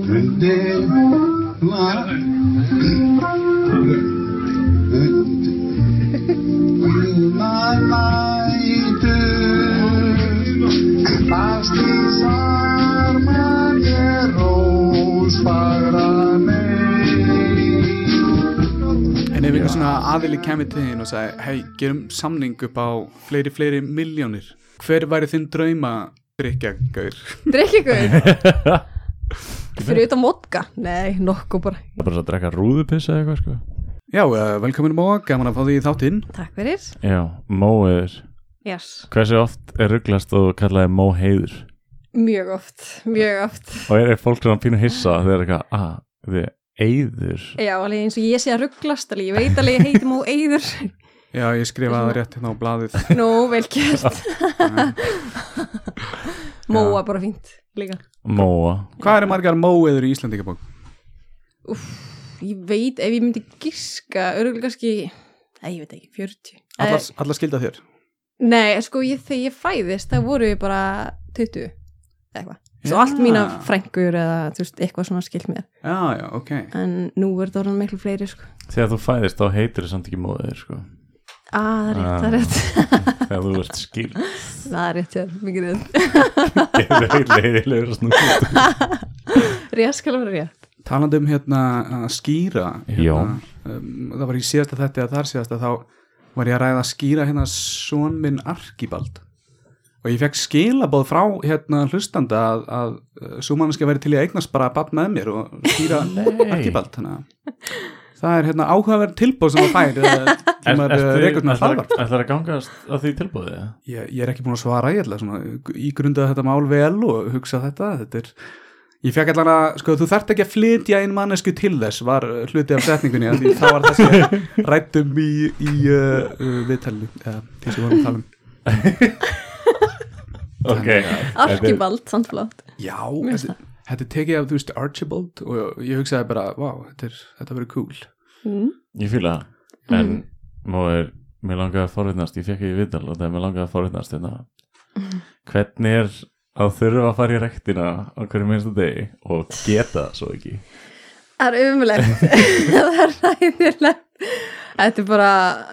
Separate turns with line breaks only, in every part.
Önde var.
En ef einhver svona aðili kemur til þín og sagði, hei, gerum samning upp á fleiri, fleiri miljónir. Hver væri þinn drauma drikkjagaur?
Drikk ykkur
Það
Fyrir utan vodka Nei, nokkuð bara
er bara svo að drekka rúðupissa eða eitthvað sko
Já, eh, velkomin Móa, gaman að fá því þátt inn.
Takk fyrir
Já, móiður
yes.
Hversu oft er rugglast og kallaði móheiður?
Mjög oft Mjög oft
Og er, er fólk svona pínu hissa þegar eitthvað, að, þið eiður
Já, alveg eins og ég sé að rugglast alveg Ég veit alveg ég heiti mú eyður
Já, ég skrifaði það rétt hérna á blaðið.
Nú, vel gert Móa bara fínt líka
móa
Hvað eru margar móeður í Íslandingabók?
Ég veit, ef ég myndi giska Örgulega kannski Nei, ég veit ekki, 40
Allar,
Eh,
allar skilda þér?
Nei, sko, ég, þegar ég fæðist Það voru ég bara 20 eða Eitthvað Svo allt
Já.
mína frængur eða þú veist, eitthvað svona skilt mér
Já, já, ok.
En nú er það orðan miklu fleiri sko
Þegar þú fæðist þá heitir þið samt ekki móðir sko.
Ah, það er rétt,
Þegar þú ert skil
það er rétt, það er rétt, já, mikið rétt.
Leiðilegur snúð
Rétt skal vera rétt.
Talandi um hérna að skýra
Já.
hérna, um, Það var ekki síðasta þetta eða þar síðasta þá var ég að ræða að skýra hérna son minn Arkibald og ég fekk skilabóð frá hérna hlustanda að, að uh, svo mannskja væri til í að eignast bara bann með mér og skýra Arkibald þannig að það er hérna áhugaverð tilbóð sem það fær eða kemur reikast með
Ætlar
hlaðvart
að gangast að því tilbúðið?
ég, ég er ekki búin að svara, ég ætla svona ígrunda þetta mál vel og hugsa þetta þetta er Ég fekk allan að, sko, þú þarft ekki að flytja einn mannesku til þess var uh, hluti af setningunni af því þá var það sem við rættum í, í uh, uh, viðtælinu eða því sem við vorum að tala um
Ok
Arkibald, samt flott.
Já,
Mér finnst
þetta, þetta er tekið af, þú veist, Archibald og ég hugsaði bara, vá, þetta, er- þetta verið cool
Mm.
Ég fýla það En
Mhm.
móðir, mér langaði að forvitnast Ég fekk ekki viðtal og þegar mér langaði að forvitnast hérna. Hvernig er að þurfa að fara í rektina á hverju minnstu degi og geta það svo ekki
Það er umlegt, það er ræðilegt. Þetta er bara,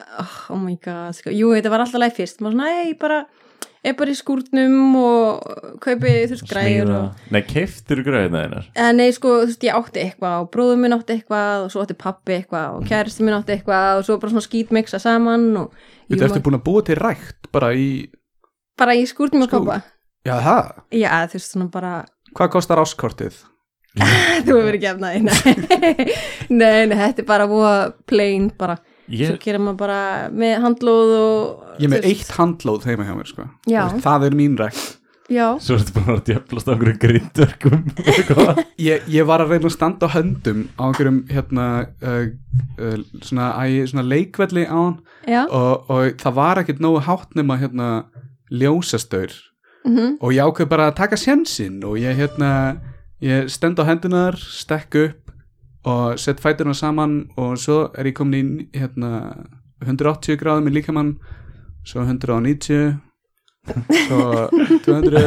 oh my god, sko. Jú, þetta var alltaf leið fyrst. Má svona, ei, bara, er bara í skúrnum og kaupi, þú veist, græður.
Smíða
og-
Nei, keiftir græðina þeinar
Eh, Nei, sko, þú veist, ég átti eitthvað og bróður minn átti eitthvað og svo átti pappi eitthvað og kæristi minn átti eitthvað og svo bara svona skítmixa saman og ég
Þetta ertu
var
búin að búa til rækt bara í,
bara í skúrnum og
Skúr.
kápa.
já, það,
Já, þú veist, svona bara
hvað kostar áskortið?
Þú hefur verið gefnað því, nei. nei, nei, þetta er bara voða plain bara. Svo
Ég,
gerir maður bara með handlóð og...
Ég er með
þú
eitt
veist.
handlóð heima hjá mér, sko
Já.
Það er mín rækt
Já,
svo ertu bara að djöflast á einhverju grindverkum eitthvað
Ég, ég var að reyna að standa á höndum á einhverjum hérna uh, uh, svona, æ, svona leikvelli á hann
já.
og, og það var ekkert nógu hátt nema hérna ljósastaur
Mm
og ég ákveð bara að taka sjensinn og ég hérna ég stend á hendunar, stekk upp og sett fæturna saman og svo er ég komin í hérna 180 gráðum í líkamann svo 190 svo 200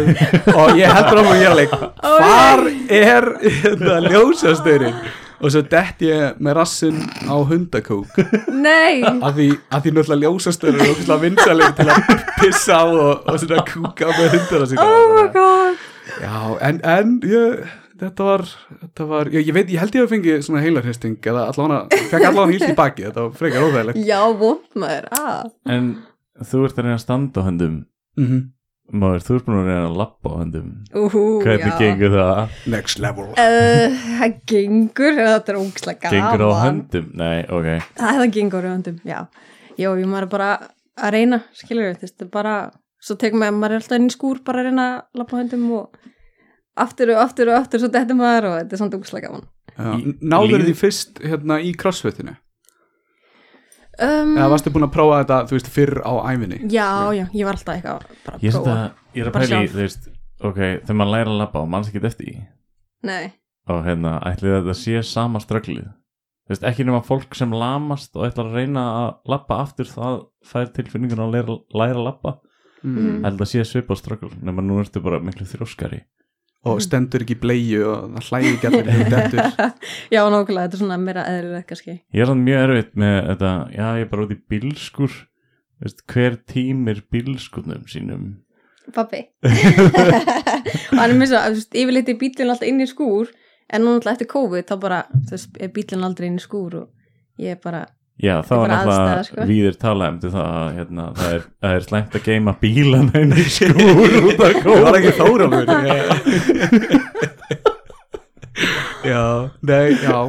og ég heldur á mig og ég er leik hvar er hérna ljósastörin og svo dett ég með rassinn á hundakók
Nei,
að því, að því náttúrulega ljósastörin er ógustlega vinsaleg til að pissa á og, og svona kúka með hundana sig
oh my god.
Já, en, en ég, þetta var, þetta var ég, ég veit, ég held ég að fengi svona heilarhesting eða allavega, fekk allavega hýlt í baki þetta var frekar óþægilegt
Já, vond maður, ah.
En þú ert að reyna að standa á höndum
mm
Maður, þú ert búin að reyna að lappa á höndum
Úhú,
Hvernig
já.
gengur það?
Next level
Eh, Það gengur, þetta er ógislega gaman.
Gengur á höndum? Nei, ok
Það það gengur á höndum, já. Jó, ég maður er bara að reyna, skilur við, þetta er bara... Svo tekur maður, maður er alltaf inn í skúr bara að reyna að lappa á höndum og aftur og aftur og aftur svo dettur maður og þetta er samt ógislega gaman.
Já,
Í-
Náður
líð-
því fyrst hérna í crossfitinu
Um,
eða varstu búin að prófa þetta, þú veist, fyrr á æfinni
Já, já, ég var alltaf eitthvað bara að
Ég,
prófa.
að, ég er að
Bara
pæla í,
sjálf.
þú veist Ok, þegar maður læra að lappa og manns ekki eftir því
Nei,
Og hérna, ætli þetta sé sama ströggli Þú veist, ekki nema fólk sem lamast og ætlar að reyna að lappa aftur það fær tilfinningun að læra, læra að lappa
mm.
Mhm. held að sé svipa ströggl nema nú ertu bara miklu þrjóskari
og stendur ekki í bleiu og það hlæði ekki allir í dettur
já, nákvæmlega, þetta er svona meira eðlilegt kannski
Ég er þannig mjög erfitt með þetta, já ég er bara út í bílskur, veist, hver tímir bílskurnum sínum.
pappi og hann er með þess að, þú veist, yfirleitt er bílinn alltaf inn í skúr en núna alltaf eftir COVID þá bara, þú veist, er bílinn aldrei inn í skúr og ég er bara,
Já,
er
það var
bara
náttúrulega
aðstæða, sko.
víðir tala um til það að hérna, það, er, það er slæmt að geima bílana inn í skúr út að
það var
kóla.
ekki þóralur já, nei, já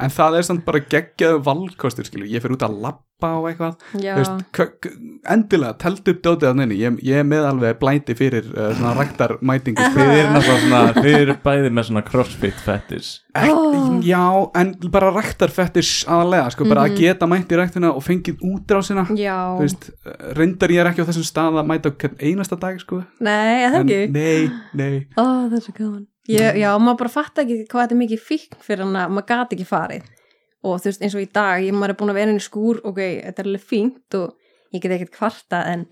en það er samt bara geggjað valkostur skilur, ég fer út að labba og eitthvað
já
Þú veist, k- k- endilega, telt upp dótið að neini ég, ég er með alveg blæti fyrir uh, svona ræktarmætingu
Þið eru náttúrulega svona, þið eru bæði með svona crossfit fettis.
Ek,
Ó.
Já, en bara ræktarfettir aðalega, sko, bara
Mhm.
að geta mætt í ræktina og fengið útrásina
já,
Þú veist, eh, reyndar ég er ekki á þessum stað að mæta á hvern einasta dag, sko
nei, er það
en,
ekki
Nei, nei
ó, það er svo gaman Mm. ég, já, maður bara fatt ekki hvað þetta er mikið fíkn fyrir hann að maður gat ekki farið og þú veist, eins og í dag, ég maður er búin að vera inn í skúr ok, þetta er alveg fínt og ég get ekkert kvarta en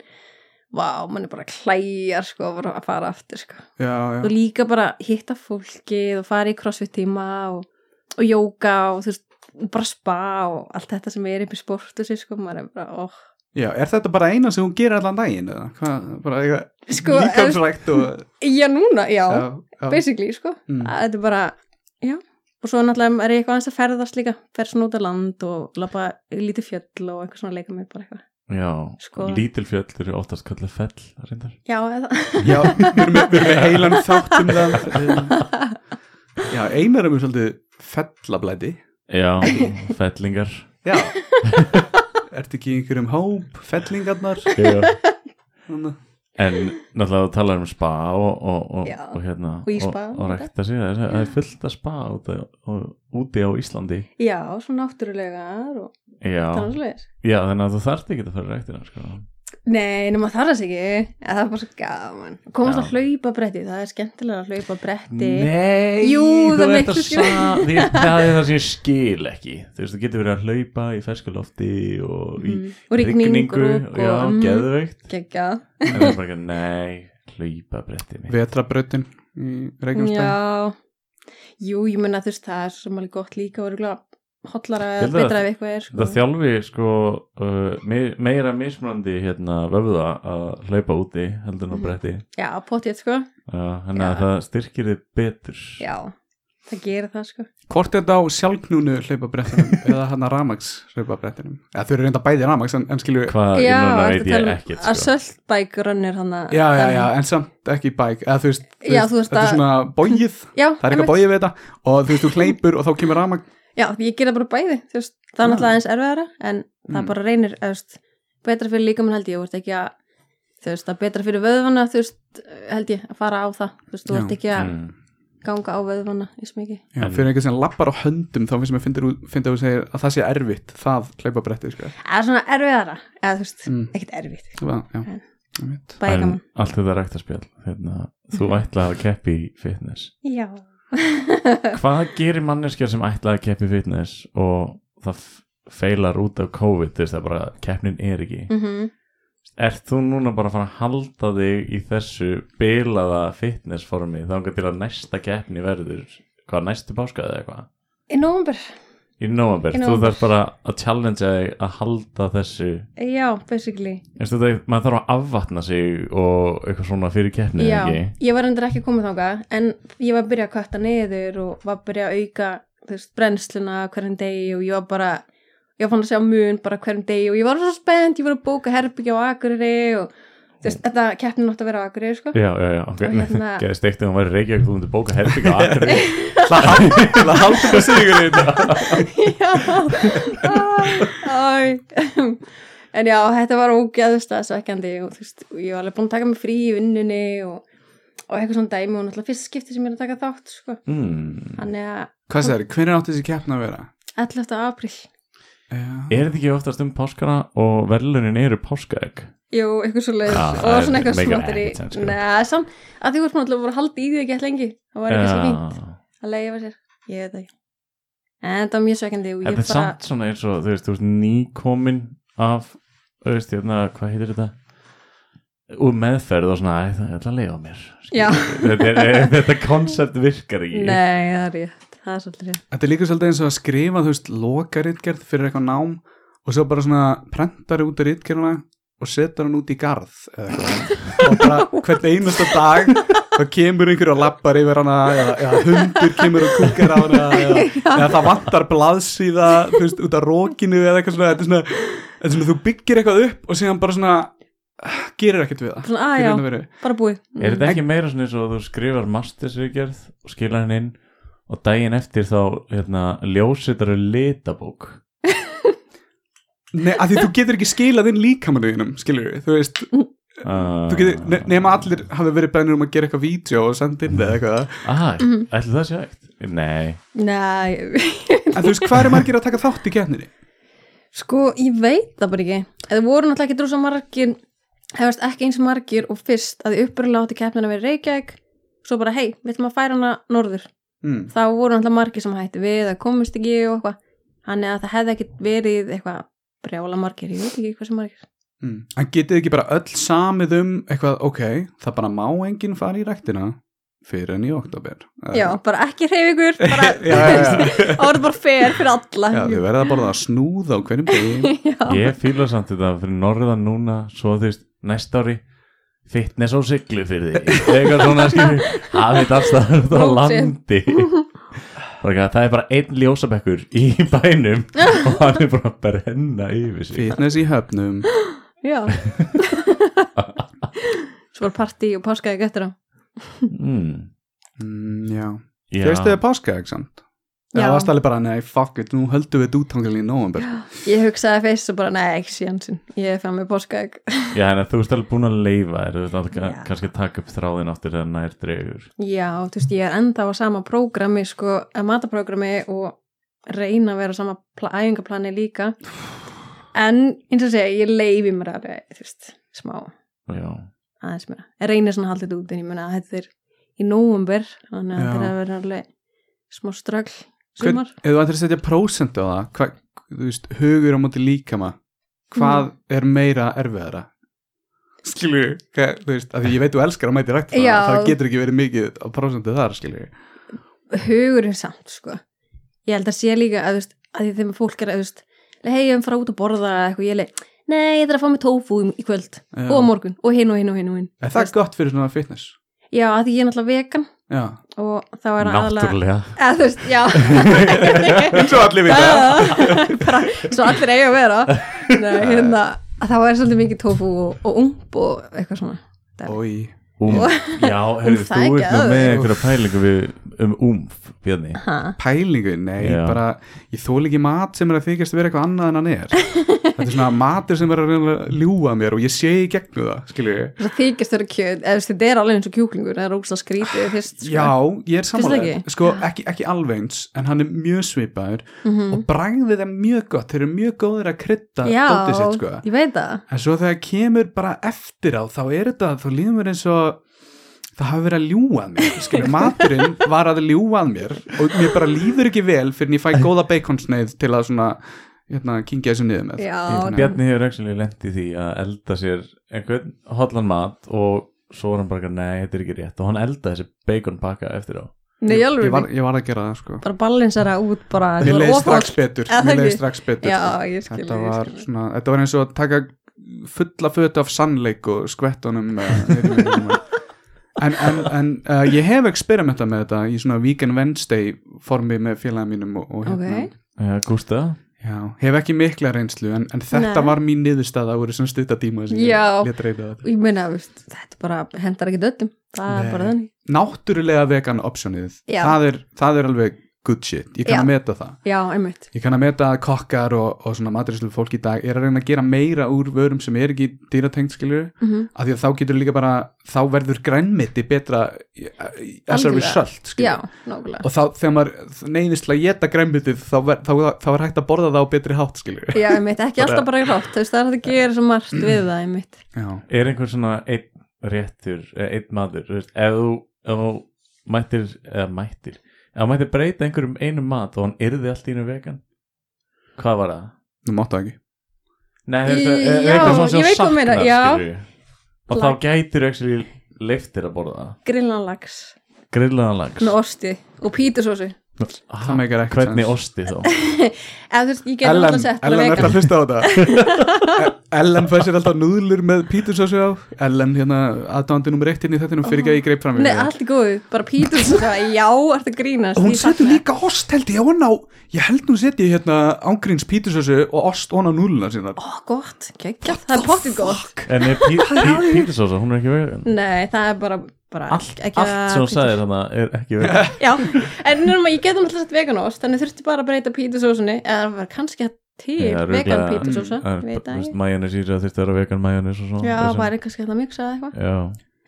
vá, mann er bara klæjar sko, bara að fara aftur sko
Já,
og
já,
líka bara hitta fólkið og fara í crossfit tíma og, og jóka og þú veist og bara spa og allt þetta sem er upp í sportu sig sko, maður er bara, óh
já, er þetta bara eina sem hún gerir allan daginn, eða? Hvað, bara eitthvað
Sko,
líkamsrækt og
já núna, já,
já, já,
basically sko
Mm.
að þetta er bara, já og svo náttúrulega er ég eitthvað aðeins að ferðast líka fer svona út á land og labba í lítið fjöll og eitthvað svona leika mér bara eitthvað
Já,
Sko.
lítil fjöll eru óttast kallið fell, reyndar.
já, eða,
já við erum með, við erum með heilan þátt um það Já, einar er mjög svolítið fellablæti
Já, fellingar.
Já Ertu ekki í einhverjum hóp, fellingarnar
Sko, Já.
Þannig
En náttúrulega þú talar um spa og, og, og,
Já,
og hérna
og í spa
og,
og
og rekta sig, það er, það er fullt að spa úti, og, úti á Íslandi
já, svona náttúrulegar og
Já,
þannig slegir
já þannig að þú þarft ekki að fara í rektina sko.
Nei, nema það er þess ekki en það er bara svo gaman komast
Já.
að hlaupa bretti, það er skemmtilega að hlaupa bretti
Nei,
Jú,
þú
það
ert
miklu
að
skil-
sa- því- Það er það sem ég skil ekki Þú veist, þú getur verið að hlaupa í ferskulofti og í
Mm.
mm.
og rigningu
og, Já,
mm,
geðveikt
geggjað.
En það er bara ekki, nei, hlaupa bretti mitt
Vetrabrautin í Reykjavíkstæði
já jú, ég menna þú veist það er sem alveg gott líka og örugglega hollara
Ég
eða
held að
betra ef eitthvað er
Það
sko.
þjálfi sko uh, me- meira mismunandi hérna vöfða að hlaupa úti heldur en á
Mhm.
bretti
já, potið sko
Já, þannig að
Já.
það styrkir þið betur
já, það gerir það sko
Hvort er þetta á sjálfknúnu hlaupabrettinum eða hann að ramags hlaupabrettinum eða þau eru reynda bæði ramags en, en skilju
já,
Hvað ég núna
ertu
veit
að
ég
tala um
ekkert
að
sko.
söltbæk rönnir hann að
já, já, já, en samt ekki bæk eða þú veist,
Já, þú veist
þetta er
að-
svona bógið
já,
það er eitthvað bógið við þetta og þú veist, þú hleypur og þá kemur ramag
já, ég ger það bara bæði þú veist, það
Já.
er náttúrulega eins erfiðara en
Mm.
það bara reynir eða, þú veist, betra fyrir líkamann held ég þú veist ekki að þú veist, það er betra fyrir vöðvana þú veist, held ég að fara á það þú veist, þú
Já.
veist ekki að
Mm.
ganga á vöðvana í smiki
já,
En-
fyrir einhvern sem lappar á höndum þá finnst mér finnir út, finnir að þú segir að það sé erfitt það hlaupabretti, sko
það er svona erfiðara eða þú veist,
Mm.
ekkert erfitt
já, já,
En-
ég veit.
bæði
En
gaman
allt þetta ræktarspjall hérna, Þú ætlaði að keppi í fitness
já, Eh.
Hvað gerir manneskja sem ætlaði að keppi í fitness og það f- feilar út af COVID þú veist það bara keppnin er ekki
mm
Ert þú núna bara að fara að halda þig í þessu bilaða fitness formi þangað til að næsta keppni verður hvað næstu páskaði eða hvað?
í nómber
Í nómabert,
Í
þú
nóvember.
þarf bara að challengea þig að halda þessu
já, basically
eins og þetta, maður þarf að afvatna sig og eitthvað svona fyrir keppni
já,
eða ekki
ég var endur ekki að koma þáka en ég var að byrja að kvarta niður og var að byrja að auka þú veist, brennsluna hverjum degi og ég var bara ég var fann að sjá mun bara hverjum degi og ég var svo spennt, ég var að bóka herbyggja á Akureyri og þú veist, þetta keppnin átt að vera á Akureyri sko.
Já, já, já, ok,
Og hérna-
gerði steikt ef hún væri reykjað þú myndir bóka herbyggja á aðri
Það haldur það sigur þetta
já Æ, æ. en já, þetta var ógeðust að svekkjandi og þú veist, og ég var alveg búin að taka mig frí í vinnunni og, og eitthvað svona dæmi og náttúrulega fyrst skipti sem ég er að taka þátt sko.
mm.
þannig að
Hvað sér, hvernig átti þessi keppna að vera?
11. apríl
Já,
Er þetta ekki oftast um páskana og verðlunin eru páskaegg?
Jú, eitthvað svo leiðis
Já,
og
það er-
svona eitthvað
make
smattir í
it sense, sko.
Nei, samt, að því voru náttúrulega voru að halda í því ekki alltaf lengi Það var ekki svo fínt
Já.
að leiða sér Ég veit það ekki En þetta var mjög sveikandi og ég
Þetta er samt svona eins og þú veist, þú veist nýkomin af, þú veist, hérna, hvað heitir þetta? úr meðferð og svona, æ, það er alltaf að leiða mér skilur.
Já.
þetta, er- þetta koncept virkar ekki
Nei, það er rétt, það er svolítið rétt
Þetta er líka svolítið eins og að skrifa, þú veist, lokaritgerð fyrir eitthvað nám og svo bara svona prentari út af ritgerðuna og setur hann út í garð eða eitthvað. og bara hvert einasta dag þá kemur einhver og lappar yfir hana eða, eða hundur kemur og kúkar á hana eða, eða það vantar blaðsíða þú veist, út af rókinu eða eitthvað svona þetta er svona, þetta er svona þú byggir eitthvað upp og síðan bara svona ah, gerir ekkert við það
Svona, að
Í raun og
já,
veru.
bara búið Mm.
Er þetta ekki meira svona eins og þú skrifar mastersriðgerð og skila henn inn og daginn eftir þá hérna, ljósitaru litabók
Nei, af því þú getur ekki skilað inn líkamanuðinum skilur við, þú veist
uh,
Þú getur, ne- nema allir hafi verið bennir um að gera eitthvað vídeo og senda inn eða eitthvað
ah,
Mhm.
Ætli það sé hægt? Nei,
Nei,
En þú veist, hvað er margir að taka þátt í keppninni?
sko, ég veit það bara ekki Það voru náttúrulega ekki drosa margir hefast ekki eins margir og fyrst að upprunalega átti keppnina við Reykjavík svo bara, hei, við ætlum að færa hana norður
Mm.
þá voru náttúrulega margir sem hætti við að komist ekki og eitthvað þannig að það hefði ekki verið eitthvað brjála margir, ég veit ekki hversu margir
Mm. En getið ekki bara öll samið um eitthvað, ok, það bara má enginn fara í ræktina fyrir enn í oktober Eða-
já, bara ekki reyf ykkur bara,
já, já, já.
það voru bara fer fyrir alla
já, þau verða að borða snúð á hverjum degi
ég fíla samt þetta fyrir norðan núna svo þú veist, næst ári fitness á siglu fyrir því eitthvað svona skilur hafið allstaðar út á landi Bara, það er bara einn ljósabekkur í bænum og hann er bara að brenna yfir sig
Fitness í höfnum
já. svo var partí og páskaði gættur á
mm,
mm, Já,
já.
fyrstu þið páska, ekki samt? Já,
Já.
það stæli bara, nei, fuck it, nú höldum við þetta útangil í november
ég hugsaði fyrst og bara, nei, ekki sjansin ég fann mér páskaði
Já, en þú ert alveg búin að leifa þér, þú ert alveg
Já.
ka- kannski að taka upp þráðin áttir þegar nær dregur.
Já, þú veist, ég er enda á sama prógrami, sko, að mataprógrami og reyna að vera á sama pla- æfingaplani líka. En, eins og segja, ég leifi mér að, þú veist, smá,
Já,
aðeins mér. Ég reyna svona að halda þetta út en ég meina að þetta er í nóvumber, þannig
Já.
að þetta er að vera alveg smá strögl
Hvern,
sumar.
ef þú ættir að setja prósentu á það hva, þú veist, hugur á móti líkama hvað er meira erfiðara skilur Mm. hva, þú veist, af því ég veit þú elskar að mæti rækt
Já.
það getur ekki verið mikið á prósentu þar skilur
Hugurinn samt, sko. Ég held að sé líka að, þú veist, að því þegar fólk er að, þú veist, hei, ég er að fara út að borða eða eitthvað, ég er leið, nei, ég þarf að fá mig tófu í- í kvöld
Já.
og á morgun og hinn og hinn og hinn og hinn.
er það gott fyrir svona fitness
Já, að því ég er náttúrulega vegan
já.
og þá er aðalega
náttúrulega.
eða þú veist, já
eins og allir vita
bara svo allir eiga að vera Nei, hérna, að þá er svolítið mikið tofu og, og umb og eitthvað svona
Oi.
Um, já, heyrðu,
það er
þú
ekki
ert nú með
öðru.
einhverja pælingu við, um umf, Bjarni.
ha,
pælingu, nei,
Já.
bara ég þól ekki mat sem er að þykjast að vera eitthvað annað en hann er þetta er svona matur sem er að reyna að ljúga mér og ég sé í gegnum það skilur
svo þykist þurra kjöt eða þú veist, þetta er alveg eins og kjúklingur það er ógst að skrítið fyrst sko.
Já, ég er
Finnst
samanlega
þér ekki?
sko, ekki, ekki alveg eins, en hann er mjög svipaður og bragðið er mjög gott þeir eru mjög góðir að krydda
Mhm. já
dótið sitt sko.
ég veit það
en svo þegar kemur bara eftir á þá er þetta, þá líður mér eins og það hafi verið að ljúað mér skilur, maturinn var að ljúað mér og mér bara líður ekki vel fyrir en ég fæ góða baconsneið til að svona hérna, kynkja þessu niður með
Já.
Hérna.
Bjarni hefur actually lent í því að elda sér einhvern hotlan mat og svo er hann bara, eitthvað, nei, þetta er ekki rétt og hann eldaði þessi baconpakka eftir á.
Nei, ég,
ég,
alveg,
var, ég var að gera það sko
bara balansera út bara
Mér
þetta var
leiði
ofholl.
strax betur,
Eða
mér
það
leiði
ekki?
strax betur
já,
sko.
ég skil
þetta
ég
var,
skil.
svona, þetta var eins og að taka fulla fötu af sannleik og skvett honum eh, heitum við honum. en, en, en uh, ég hef experimentað með þetta í svona Weekend Wednesday formi með félaga mínum og, og hérna
Ok.
Uh, Gústa?
já, hef ekki mikla reynslu en, en þetta
Nei.
var mín niðurstaða úr þessum stuttatíma sem
Já.
ég lét reyta þetta
ég meina, þú veist, þetta bara hendar ekki döllum það
Nei.
er bara þannig
náttúrulega vegan optionið
Já.
það er, það er alveg good shit ég kann
Já.
að meta það
já, einmitt
Ég kann að meta að kokkar og, og svona maturislu fólk í dag er að reyna að gera meira úr vörum sem er ekki dýratengt skilur
mm
af því að þá getur líka bara þá verður grænmiti betra í- í- as a
Algjörlega.
result skilur.
já, nákvæmlega
og þá þegar maður neyðist til að geta grænmitið þá, ver, þá, þá er hægt að borða það á betri hátt skilur
Já, einmitt, ekki alltaf bara grátt, þú veist, það er hægt að gera svo margt við það, einmitt.
já,
Er einhver svona einn réttur, eh, einn matur, þú veist, ef þú, ef þú mættir, eða mættir, ef þú mættir breyta einhverjum einum mat og hann yrði allt í einu vegan, hvað var það?
þú máttu það ekki
Nei,
Í-
þetta er
já,
eitthvað svona sem
ég veit hvað þú
saknar,
meinar, já.
skilurðu. og þá gætir ekki leiftir að borða það.
grillan lags
grillaðan lags
með osti og pítusósu
Ha,
Það meikar ekkert
hvernig
sens.
osti þá
eða þú veist, ég gerði
Ellen,
alltaf sett
Ellen er að hlusta á þetta E- Ellen fær sér alltaf núðlur með pítursósu á Ellen hérna aðdándi nummer eitt inn í þettinum fyrir ekki að ég greip fram í
Nei,
þér.
allt í góðu, bara pítusósa já, ertu að grínast
hún
ég
setur
fagna.
líka ost held ég hún á ég held nú setji hérna ángríns pítursósu og ost hún á núðluna sína
ó, gott, geggja, það er pottið gott
en er pí, pí, pítisósa, hún er ekki vegan
nei, það er bara, bara
allt,
ekki
allt
að-
sem hún sagði þannig er ekki vegan
já, en nema, ég geti alltaf sett veganost þannig þurfti bara að breyta pítusósunni eða það var kannski til
Já,
vegan
örugglega.
pítusósa veit að ég
mæjanis íra þurfti að vera vegan mæjanis og svona
já,
þessi-
bara kannski hægt að miksa eða eitthvað
já.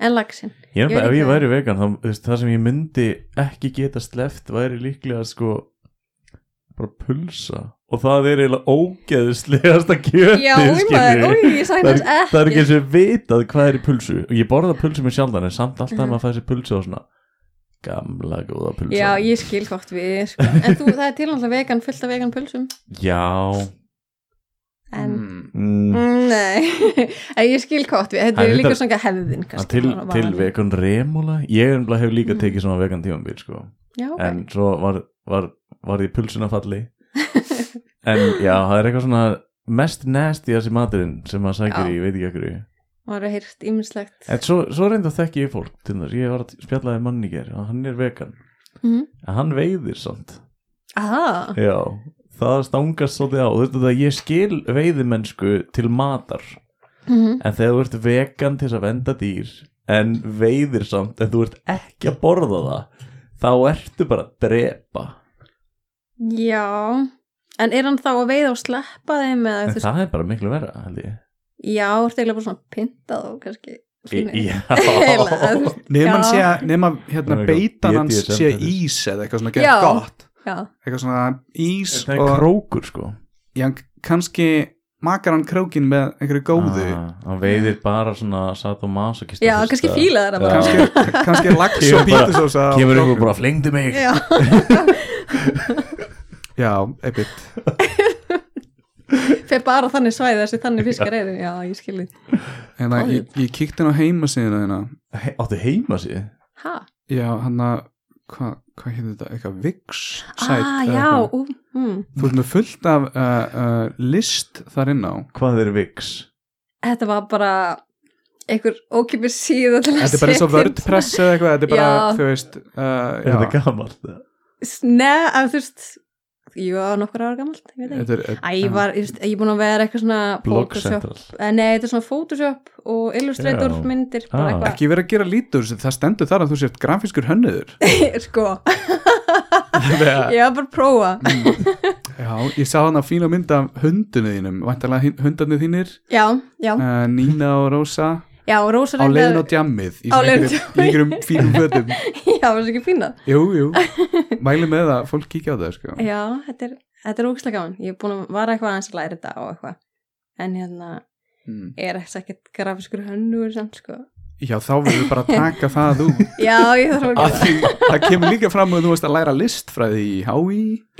en lagsin,
Ég er
Ég
bara,
veit
ef ég
það.
væri vegan, þá, þú veist, það sem ég myndi ekki geta sleft væri líklega sko bara pulsa og það er eiginlega ógeðslegasta kjötið,
já, oj maður,
skilurðu.
oj, ég sagði
Það er,
þess ekki
það er ekki eins og ég vitað hvað er í pulsu og ég borða pulsu mér sjaldan en samt alltaf
Mhm.
mm. maður fæði sér pulsu og svona gamla góða pulsa
Já, ég skil hvort við sko. En þú, það er til náttúrulega vegan, fullt af vegan pulsum
Já.
En,
Mm.
Mm.
mm. nei En ég skil hvort við, þetta
En
er líka
þetta-
svona hefðin kannski,
til,
bara
til
vanalegt.
vegan remúla ég er umlega hef líka
Mm.
tekið svona vegan tímambil sko.
Já, ok.
en svo var, var, var ég pulsunafalli en já, það er eitthvað svona mest nasty þessi maturinn sem maður sækir
Já.
í, ég veit ekki ekkur en
maður hefur heyrt ímislegt
svo, svo reynda þekki ég fólk til þess, ég var að spjallaði manni hér og hann er vegan,
Mhm.
en hann veiðir samt,
Aha,
já það stangast svolítið á, þú veist þetta ég skil veiðimennsku til matar
Mhm.
en þegar þú ert vegan til þess að venda dýr en veiðir samt en þú ert ekki að borða það þá ertu bara að drepa
já En er hann þá að veiða og sleppa þeim eða,
en
þú, veist-
það er bara miklu verra held ég
Já, ertu eiginlega bara svona að pynta þá kannski
Í-
Svona-
já.
Eiginlega, eða, þú veist,
nema
Já.
sé að nema hérna
Það er eitthvað
beitan hans
BDSM
sé
fyrir.
ís eða eitthvað svona
Já.
gett gott
Já,
eitthvað svona ís
það er
og
krókur sko
já, kannski makar hann krókin með einhverju góðu
Ah, hann veiðir bara svona sadomasokist
já kannski fíla þeirra bara
Já.
kannski, kannski lags
Kemur
og
bara-
pítursósa á
kemur
króknum.
einhver bara að flengdi mig
Já,
já, einmitt
fyrir bara á þannig svæði þessi þannig fiskar eru Já, ég skil þið
hérna,
Fáðu.
ég, ég kíkti hann á heimasíðina hérna.
He- áttu heima sér
Ha,
já, hann að hvað hva heitir þetta, eitthvað Vix site
ah,
eða
já,
eitthvað.
ú, mm.
þú ert með fullt af uh, uh, list þar inn á
hvað er viks
þetta var bara einhver ókipir síða til að
þetta er bara eins og
setja inn
wordpress eða eitthvað þetta er bara,
Já.
þú veist
er
uh,
þetta
já.
gamalt eða?
svona- Nei, að þú veist Jú, það var nokkur ára gamalt Ég veit ekki
þetta er uh,
Æ, ég var, ég veist, ég er búin að vera eitthvað svona
blog
Photoshop
central
Eh, Nei, þetta er svona Photoshop og Illustrator
Já.
myndir
Ah.
bara
ekki verið að gera lítur þessu, það stendur þar að þú sért grafískur hönniður
eitthvað Sko, ég var bara að prófa
já, ég sá hann að fína mynd af hundinu þínum væntalega hundarnir þínir
Já, já,
uh, Nína og Rósa
já, Rósa
á leiðin á
reyndar-
djammið í
Á
svona
leiðinni á
einhverjum- í einhverjum fínum fötum
Já, það er ekki fína
Jú, jú, mæli með það, fólk kíkja á það sko.
Já, þetta er, þetta er ógislega gaman Ég er búin að vara eitthvað aðeins að læra þetta og eitthvað En hérna,
Mm.
er ekkert grafiskur hönnur samt, sko
Já, þá verður við bara að taka það út
Já, ég þarf að
að
gera það.
því, það kemur líka fram að þú varst að læra listfræði í HÍ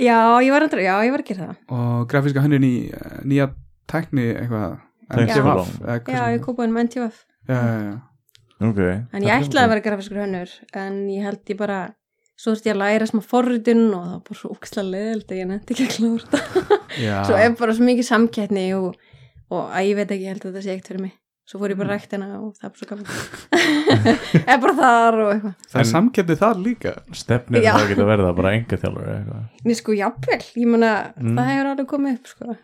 Já, ég var að, já, ég var að gera það.
og grafíska hönnun í eh, nýja tækni eitthvað NTVF,
Tækniskólann.
eða hvað
Já,
sem-
ég kópaði um NTF.
já, já, já.
okay.
En ég ætlaði að vera grafiskur hönnur, en ég held ég bara, svo þurfti ég að læra smá forritun og það var bara svo ókslega leðild að ég nefndi ekki að klára þetta.
Já.
Svo er bara svo mikið samkettni og, og að ég veit ekki, ég held að þetta sé eitt fyrir mig. Svo fór ég bara rækt hana og það var svo gaman. er bara þar og eitthvað.
það er
En-
samkeppni þar líka
stefnir
Já.
það að geta verða bara enga þjálfur eitthvað
Nei, sko, jafnvel, ég meina,
Mm.
það hefur alveg komið upp, sko.